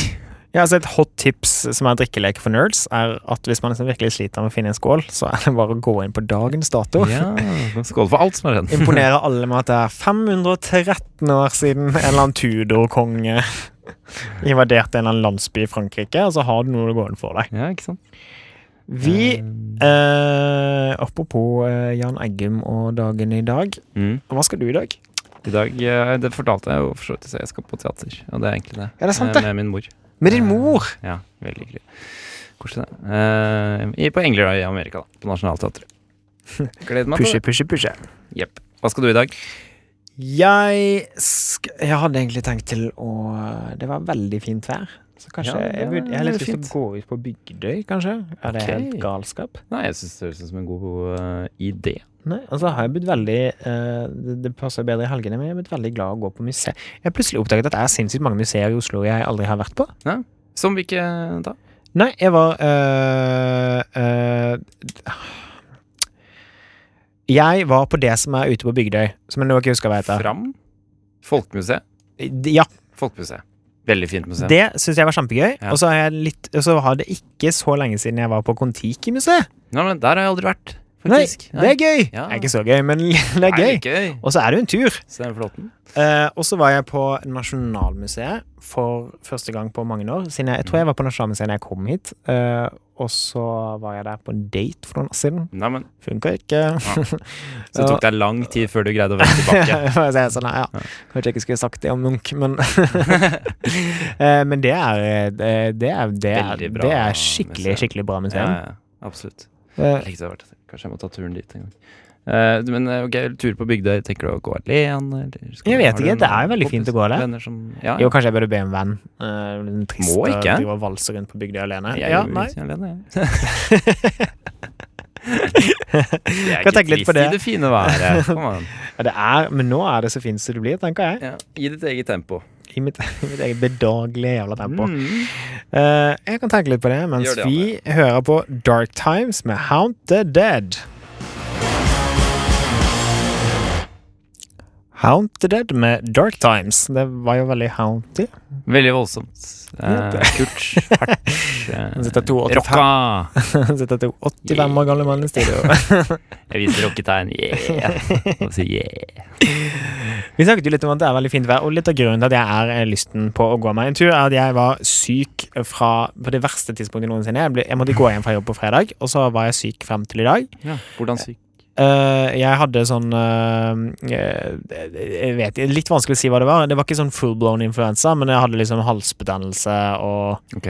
ja, altså Et hot tips som er drikkeleke for nerds, er at hvis man liksom virkelig sliter med å finne en skål, så er det bare å gå inn på dagens dato. Ja, Skål for alt som har skjedd. Imponerer alle med at det er 513 år siden en eller annen Tudor-konge invaderte en eller annen landsby i Frankrike, og så har du noe å gå inn for deg. Ja, ikke sant? Vi eh, Apropos eh, Jan Eggum og dagen i dag. Mm. Hva skal du i dag? I dag, eh, Det fortalte jeg jo for så vidt, så jeg skal på teater. Og det er egentlig det. Er det sant, Eh, det? Med min mor. Med din mor! Ja, Veldig hyggelig. Koselig, det. Eh, i- på Englerøy i Amerika, da. På Nationaltheatret. Gleder meg til Pushe, det. pushe, pushe. Jepp. Hva skal du i dag? Jeg sk Jeg hadde egentlig tenkt til å Det var veldig fint vær. Så kanskje Ja, Jeg, det burde- jeg har litt er lyst til å gå ut på Bygdøy, kanskje. Er det Ok. helt galskap? Nei, Jeg syns det høres ut som en god eh, idé. Nei, altså har jeg blitt veldig eh, det, det passer bedre i helgene, men jeg har blitt veldig glad i å gå på museer. Jeg har plutselig oppdaget at det er sinnssykt mange museer i Oslo jeg aldri har vært på. Som eh, hvilke da? Nei, jeg var øh, øh, Jeg var på det som er ute på Bygdøy, som jeg nå ikke husker hva heter. Fram? Folkemuseet? Ja, Folkemuseet. Veldig fint museum. det syns jeg var kjempegøy. Ja. Og så har jeg litt Og så har det ikke så lenge siden jeg var på Kon-Tiki-museet. Nei, men Der har jeg aldri vært, Nei, faktisk. det er gøy! Ja. Det er ikke så gøy, men det er gøy. Nei, gøy. Og så er det jo en tur. Steinar Flåten. Eh, og så var jeg på Nasjonalmuseet for første gang på mange år. Mm. Siden jeg, jeg tror jeg var på Nasjonalmuseet da jeg kom hit. Eh, og så var jeg der på en date for noen år siden. Nei, men, Funka ikke. så det tok deg lang tid før du greide å vende tilbake. Ja, jeg sier sånn, ja, ja. Kanskje jeg ikke skulle sagt det om Munch, men Eh, Men det er eh, Det er, det er, Veldig bra det er skikkelig, museum. skikkelig bra Ja, museum. ja, absolutt. Eh, Jeg likte det vært det. Kanskje jeg må ta turen dit en gang. Eh, men eh, ok, tur på Bygdøy, tenker du å gå alene? Eller skal Jeg du- vet har du ikke, det noen er veldig fint å kompiser, gå alene. venner Som, ja, Jo, ja. kanskje jeg burde be en venn. Eh, det er trist Må ikke. å drive og valse rundt på Bygdøy alene. Jeg Ja, gjør nei. ikke alene, jeg. det er Kan ikke tenke litt på trist i det. det fine været. Kom an. Ja, det er, men nå er det så fint som det blir, tenker jeg. Ja, I ditt eget tempo. I mitt, i mitt eget bedagelige jævla tempo. Mm. Eh, jeg kan tenke litt på det mens Gjør det, vi hører på Dark Times med Haunt the Dead. Haunted med Dark Times. Det var jo veldig haunty. Veldig voldsomt. Ja, Eh, kult, hardt. Han sitter to og- eh, Rocka! Han sitter to 85 år gamle mann i studio. Jeg viser rocketegn. Yeah! Og sier yeah. Vi snakket jo litt om at det er veldig fint vær, og litt av grunnen til at jeg er eh, lysten på å gå meg en tur, er at jeg var syk fra, på det verste tidspunktet noensinne. Jeg, ble, jeg måtte gå hjem fra jobb på fredag, og så var jeg syk frem til i dag. Ja, hvordan syk? Eh, jeg hadde sånn eh, eh, Jeg vet ikke, litt vanskelig å si hva det var. Det var ikke sånn full-blown influensa, men jeg hadde liksom halsbetennelse og Ok.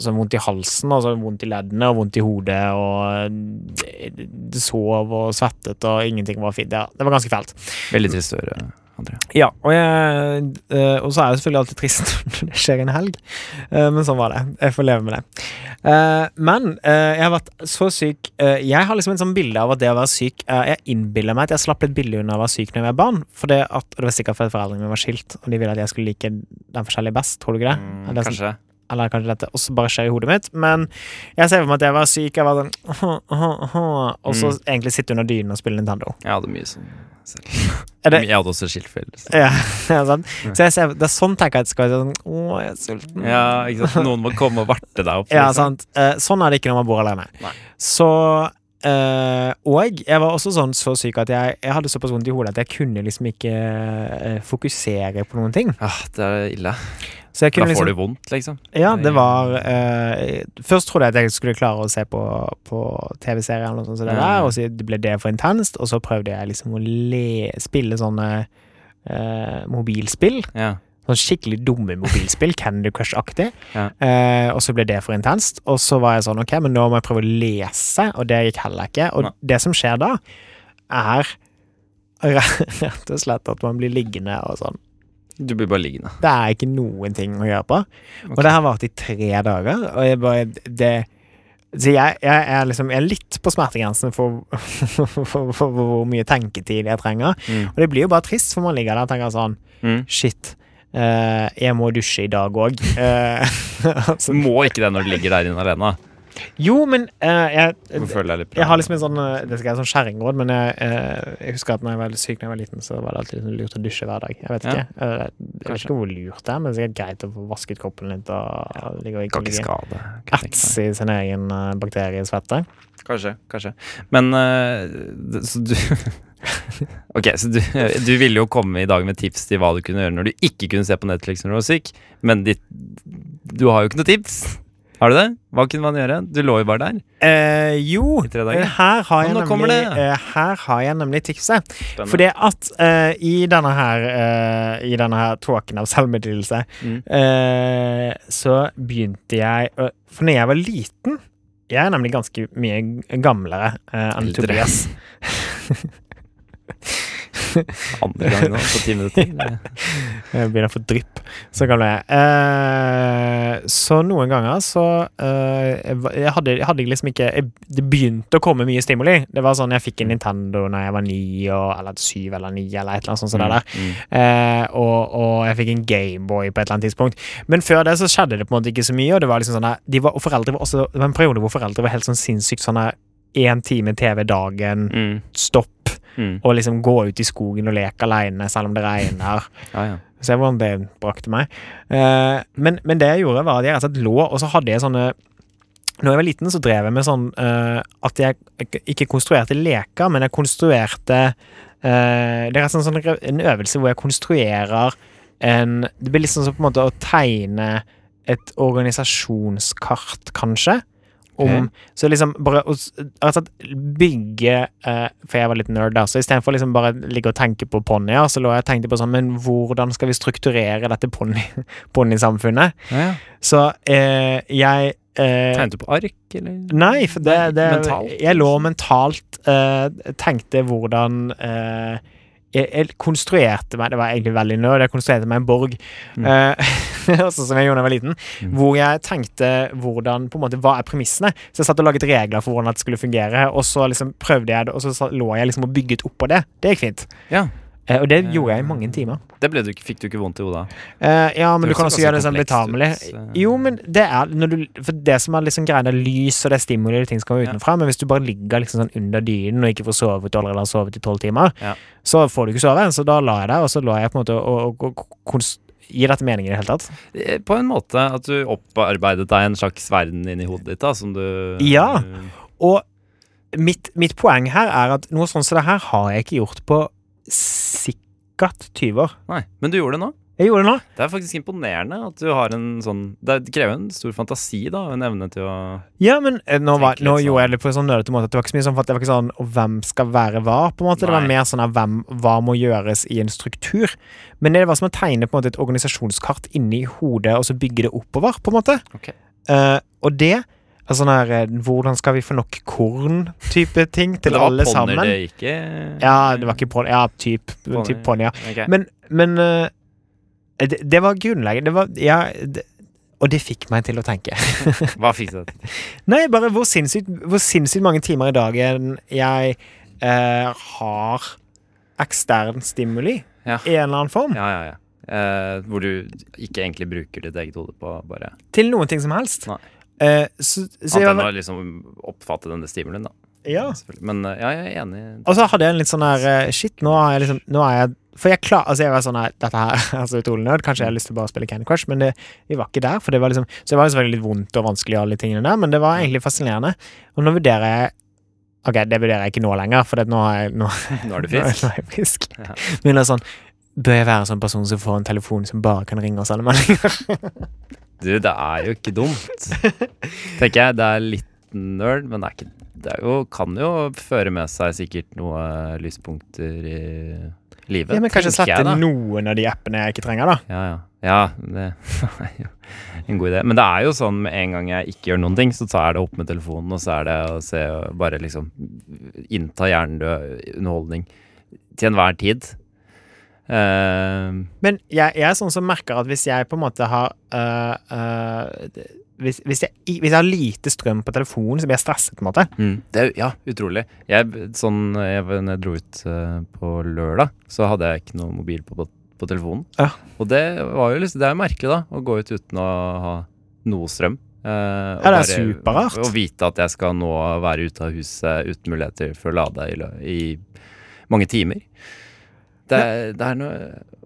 sånn vondt i halsen, og så vondt i leddene og vondt i hodet, og eh, sov og svettet, og ingenting var fint. Ja, det var ganske fælt. Veldig trist å høre, André. Ja, og, jeg, eh, og så er det selvfølgelig alltid trist når det skjer en helg, Eh, men sånn var det. Jeg får leve med det. Eh, Men eh, jeg har vært så syk eh, Jeg har liksom en sånn bilde av at det å være syk eh, Jeg innbiller meg at jeg slapp litt billig unna å være syk når jeg var barn. For det, at, og det var sikkert fordi foreldrene mine var skilt, og de ville at jeg skulle like den forskjellige best. Tror du ikke det? Eller sånn- Kanskje. eller kanskje dette også bare skjer i hodet mitt, men jeg ser for meg at jeg var syk. Jeg var sånn Og så egentlig sitte under dynen og spille Nintendo. Jeg hadde mye sånn selv. Er det- Jeg hadde også skiltforeldre. Ja, ja, sant? Så jeg ser, det er sånn tenker jeg at det skal være sånn Å, jeg er sulten. Ja, ikke sant? Noen må komme og varte deg opp. Ja, liksom. sant. Eh, sånn er det ikke når man bor alene. Nei. Så eh, Og jeg var også sånn så syk at jeg, jeg hadde såpass vondt i hodet at jeg kunne liksom ikke eh, fokusere på noen ting. Ah, det er ille. Så jeg Da kunne får liksom du vondt, liksom. Ja, det var eh, Først trodde jeg at jeg skulle klare å se på, på TV-serier, eller noe sånt som det Ja. der, og så ble det for intenst, og så prøvde jeg liksom å le, spille sånne eh, mobilspill. Ja. Sånn skikkelig dumme mobilspill, Candy Crush-aktig. Ja. Eh, og så ble det for intenst. Og så var jeg sånn, ok, men nå må jeg prøve å lese, og det gikk heller ikke. Og Nei. det som skjer da, er rett og slett at man blir liggende og sånn. Du blir bare liggende. Det er ikke noen ting å gjøre på. Og det har vart i tre dager, og jeg bare det, Så jeg, jeg, er liksom, jeg er litt på smertegrensen for, for, for, for hvor mye tenketid jeg trenger. Mm. Og det blir jo bare trist, for man ligger der og tenker sånn Mm. Shit. eh, jeg må dusje i dag òg. Du altså, må ikke det når du ligger der inne alene. jo, men eh, jeg, Du føler deg litt bra. jeg har liksom en sånn eh, Det skal være sånn skjæringråd, men jeg, eh, jeg husker at når jeg var litt syk da jeg var liten, så var det alltid liksom lurt å dusje hver dag. Jeg vet Ja. ikke. Eh, jeg vet Kanskje. ikke hvor lurt det er, men det er sikkert greit å få vasket kroppen litt og og ligge Kan og ikke sånn ikke skade. kan jeg tenke meg. etse i sin egen eh, bakterie i svette. Kanskje, kanskje. Men eh, det- så du Ok, så du, du ville jo komme i dag med tips til hva du kunne gjøre når du ikke kunne se på Netflix når du var syk, men ditt, du har jo ikke noe tips. Har du det? Hva kunne man gjøre? Du lå jo bare der. Eh, jo, I tre dager. eh, her har, jeg Ja, nå kommer nemlig, det. eh, her har jeg nemlig tipset. Spennende. Fordi at eh, i denne her eh, I denne her tåken av selvmeddelelse, Mm. eh, så begynte jeg å- For når jeg var liten Jeg er nemlig ganske mye g- gamlere eh, enn Eldre. Tobias. Andre gang nå, på ti minutter. Jeg begynner å få drypp. Så gammel er jeg. Eh, så noen ganger så eh, jeg var- jeg hadde, jeg hadde liksom ikke jeg, Det begynte å komme mye stimuli. Det var sånn Jeg fikk en Nintendo når jeg var ni, og, eller syv eller ni, eller et eller annet sånt. Mm, som det der. Eh, og, og jeg fikk en Gameboy på et eller annet tidspunkt. Men før det så skjedde det på en måte ikke så mye. Og det var liksom sånn der- de var, og foreldre var også, Det var en periode hvor foreldre var helt sånn sinnssykt sånn der Én time TV dagen, Mm. stopp, Mm. og liksom gå ut i skogen og leke aleine selv om det regner. Ja, ja. Se hvordan det brakte meg. Eh, men, men det jeg gjorde, var at jeg rett og slett lå, og så hadde jeg sånne Når jeg var liten, så drev jeg med sånn eh, at jeg ikke- ikke konstruerte leker, men jeg konstruerte eh, Det er rett og slett en sånn, en øvelse hvor jeg konstruerer en Det blir liksom som på en måte å tegne et organisasjonskart, kanskje. Om, Så liksom bare å s- rett og slett bygge eh, For jeg var litt nerd, da. Så istedenfor liksom bare ligge og tenke på ponnier, så lå jeg og tenkte på sånn Men hvordan skal vi strukturere dette ponni- ponnisamfunnet? ja, ja. Så eh, jeg eh, Tegnet du på ark, eller? Nei, for det, det Mentalt? Jeg lå mentalt eh, Tenkte hvordan eh, jeg, jeg konstruerte meg Det var egentlig veldig nerd. Jeg konstruerte meg en borg, eh, også som jeg gjorde da jeg var liten, hvor jeg tenkte hvordan på en måte, Hva er premissene? Så jeg satt og laget regler for hvordan det skulle fungere, og så liksom prøvde jeg det, og så sa- lå jeg liksom og bygget oppå det. Det gikk fint. Ja. Eh, og det gjorde jeg i mange timer. Det ble du ikke, fikk du ikke vondt i hodet av. Eh, ja, men Det du kan høres også gjøre det ganske sånn betamelig. komplekst eh. ut, så- Jo, men det er når du, For det som er liksom greia, det er lys og det er stimuli og ting som kommer Ja. utenfra, men hvis du bare ligger liksom sånn under dynen og ikke får sovet, og allerede har sovet i tolv timer, Ja. så får du ikke sove. Så da la jeg deg, og så la jeg på en måte og, og, og kons Gir dette mening i det hele tatt? Eh, På en måte at du opparbeidet deg en slags verden inni hodet ditt, da, som du eh, Ja. Og mitt, mitt poeng her er at noe sånn som det her har jeg ikke gjort på sikkert 20 år. Nei, men du gjorde det nå. Jeg gjorde det nå. Det er faktisk imponerende at du har en sånn Det krever en stor fantasi, da, og en evne til å Ja, men eh, nå, var, Tenk litt nå sånn. gjorde jeg det på en sånn nølete måte. at Det var ikke så mye sånn for at det var ikke sånn og 'hvem skal være hva'? på en måte. Det var Nei. mer sånn at hvem, hva må gjøres i en struktur. Men det var som å tegne på en måte et organisasjonskart inni hodet og så bygge det oppover. på en måte. Ok. Eh, og det er sånn her eh, 'hvordan skal vi få nok korn'-type ting til Det var alle ponner sammen. Det gikk i. Ja, det var ikke ponni. Ja, typ, Ponny. typ ponni, ja. Ok. Men, men eh, det, det var grunnleggende. Det var Ja. Det, og det fikk meg til å tenke. Hva fikset det? Nei, bare hvor sinnssykt, hvor sinnssykt mange timer i dagen jeg eh, har ekstern stimuli Ja. i en eller annen form. Ja, ja, ja. Eh, hvor du ikke egentlig bruker ditt eget hode på bare Til noen ting som helst. Nei. Eh, så, så Annet jeg, enn å var- liksom oppfatte denne stimulien, da. ja. Selvfølgelig. Men eh, ja, jeg er enig. Og så hadde jeg en litt sånn her eh, Shit, nå er jeg liksom nå er jeg, For jeg klar, altså jeg var sånn her Dette her er så utrolig nerd. Kanskje jeg har lyst til å bare spille Candy Crush, men det, vi var ikke der. For det var liksom, så det var selvfølgelig litt vondt og vanskelig, og alle de tingene der, men det var egentlig fascinerende. Og nå vurderer jeg Ok, det vurderer jeg ikke nå lenger, for det, nå har jeg, nå, Nå er du Nå er- frisk. Nå er jeg frisk. Ja. Men det er sånn Bør jeg være sånn person som får en telefon som bare kan ringe og sende meldinger? Du, det er jo ikke dumt. Tenker jeg. Det er litt nerd, men det, er ikke, det er jo, kan jo føre med seg sikkert noen lyspunkter i livet. Ja, men tenker jeg, kanskje slette da. noen av de appene jeg ikke trenger, da. Ja, ja. ja det er jo en god idé. Men det er jo sånn med en gang jeg ikke gjør noen ting, så tar jeg det opp med telefonen, og så er det å se og bare liksom innta hjernedød underholdning til enhver tid. Eh, Men jeg, jeg er sånn som merker at hvis jeg på en måte har øh, øh, det- hvis, hvis, jeg, i- hvis jeg har lite strøm på telefonen, så blir jeg stresset, på en måte. Mm. Det er, jo- ja, utrolig. Jeg, sånn, jeg, når jeg dro ut eh, på lørdag, så hadde jeg ikke noe mobil på, på, på telefonen. Ja. Og det var jo liksom, det er jo merkelig, da, å gå ut uten å ha noe strøm. Eh, og Ja, det er bare- superrart. Å vite at jeg skal nå være ute av huset uten muligheter for å lade i, lø- i mange timer. Det, er- det er noe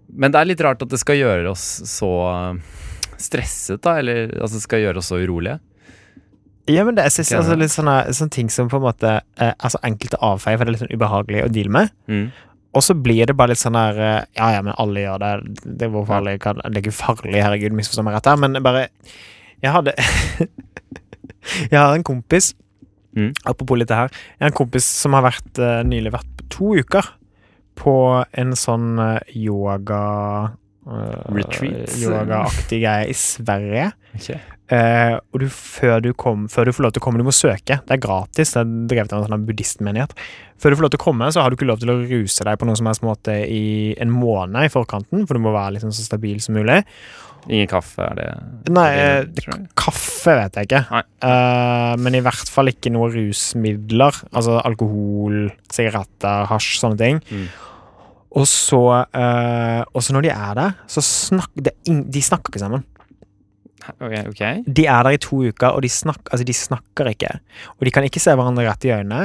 Men det er litt rart at det skal gjøre oss så eh, stresset, da. Eller altså, det skal gjøre oss så urolige. Ja, men det jeg synes, Ja. altså, litt sånne, sånne ting som på en måte eh, Altså enkelte avfeier, for det er litt sånn ubehagelig å deale med. Mm. Og så blir det bare litt sånn der eh, Ja, ja, men alle gjør det. Det er, hvorfor alle kan, det er ikke farlig, herregud, misforstå meg rett her, men bare Jeg hadde Jeg har en kompis Mm. Apropos litt det her. Jeg har en kompis som har vært, eh, nylig vært på to uker på en sånn eh, yoga eh, Retreat? Yogaaktig greie i Sverige. Ok. Eh, og du, før, du kom, før du får lov til å komme, du må søke. Det er gratis. Det er drevet av en sånn buddhistmenighet. Før du får lov til å komme, så har du ikke lov til å ruse deg på noen som helst måte i en måned i forkanten, for du må være liksom så stabil som mulig. Ingen kaffe, er det Nei, er det, eh, tror jeg. Kaffe vet jeg ikke, Nei. Eh, men i hvert fall ikke noe rusmidler. Altså alkohol, sigaretter, hasj, sånne ting. Mm. Og så eh, Og så når de er der, så snakker de, de snakker ikke sammen. Ok, ok. De er der i to uker, og de, snak, altså de snakker ikke. Og de kan ikke se hverandre rett i øynene.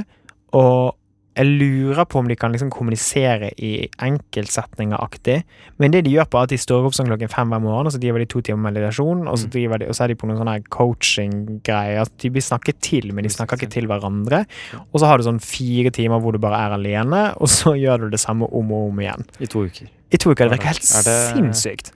Og jeg lurer på om de kan liksom kommunisere i enkeltsetninger aktig. Men det de gjør på er at de står opp sånn klokken fem hver morgen, og så driver de to timer meditasjon, og Mm. så, driver de, og så er de på noen sånne her coaching-greier. Altså, De blir snakket til, men de snakker ikke til hverandre. Og så har du sånn fire timer hvor du bare er alene, og så gjør du det samme om og om igjen. I to uker. I to uker. Det virker helt Er det- sinnssykt.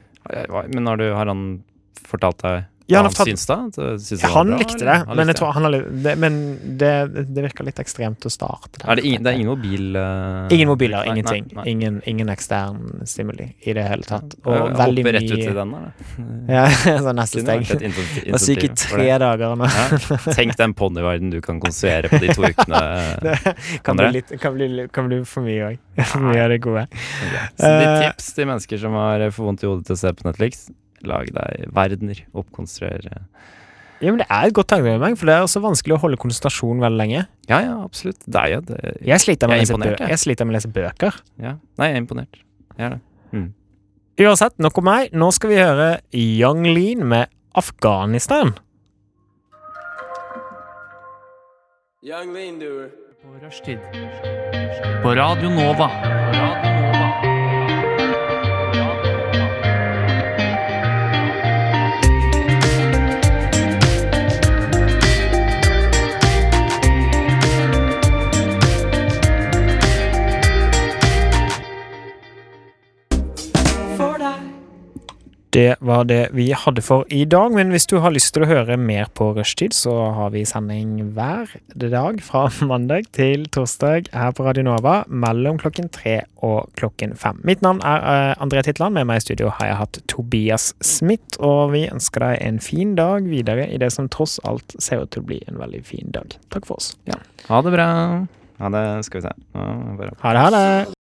Men har, du, har han fortalt deg hva Ja, han har han fortalt- syns da? At du syns det var Han bra, likte eller? det, Han men, jeg likte tror han har litt, det, men det, det virker litt ekstremt å starte der. Er det, ingen, det er ingen mobil eh, Ingen mobiler, nei, ingenting. Nei, nei. Ingen, ingen ekstern stimuli i det hele tatt. Og Og veldig Hoppe rett ut i mye den, da. ja, så neste Kunne vært steg. et insentiv- Jeg var syk i insentiv for tre det. dager nå. Ja. Tenk den ponniverdenen du kan konstruere på de to ukene. Det kan bli, Andre? litt, kan, bli, litt- kan bli for mye òg. For mye av det gode. Så ditt Eh. tips til mennesker som har for vondt i hodet til å se på Netflix, lag deg verdener. Oppkonstruer eh. Ja, men det er et godt tankeelement, for det er også vanskelig å holde konsentrasjon veldig lenge. Ja, ja, absolutt. Det er jo det. Jeg sliter Jeg med, å lese, er imponert, bø jeg. jeg sliter med å lese bøker. Ja. Nei, jeg er imponert. Jeg er det. Uansett, nok om meg. Nå skal vi høre Young Lean med Afghanistan. På rushtid. På Radio Nova. Det var det vi hadde for i dag, men hvis du har lyst til å høre mer på Rushtid, så har vi sending hver dag fra mandag til torsdag her på Radio Nova mellom klokken tre og klokken fem. Mitt navn er eh, André Titland, med meg i studio har jeg hatt Tobias Smith, og vi ønsker deg en fin dag videre i det som tross alt ser ut til å bli en veldig fin dag. Takk for oss. Ha det bra. Ha det, skal vi se. Nå, må jeg bare Ha det, ha det!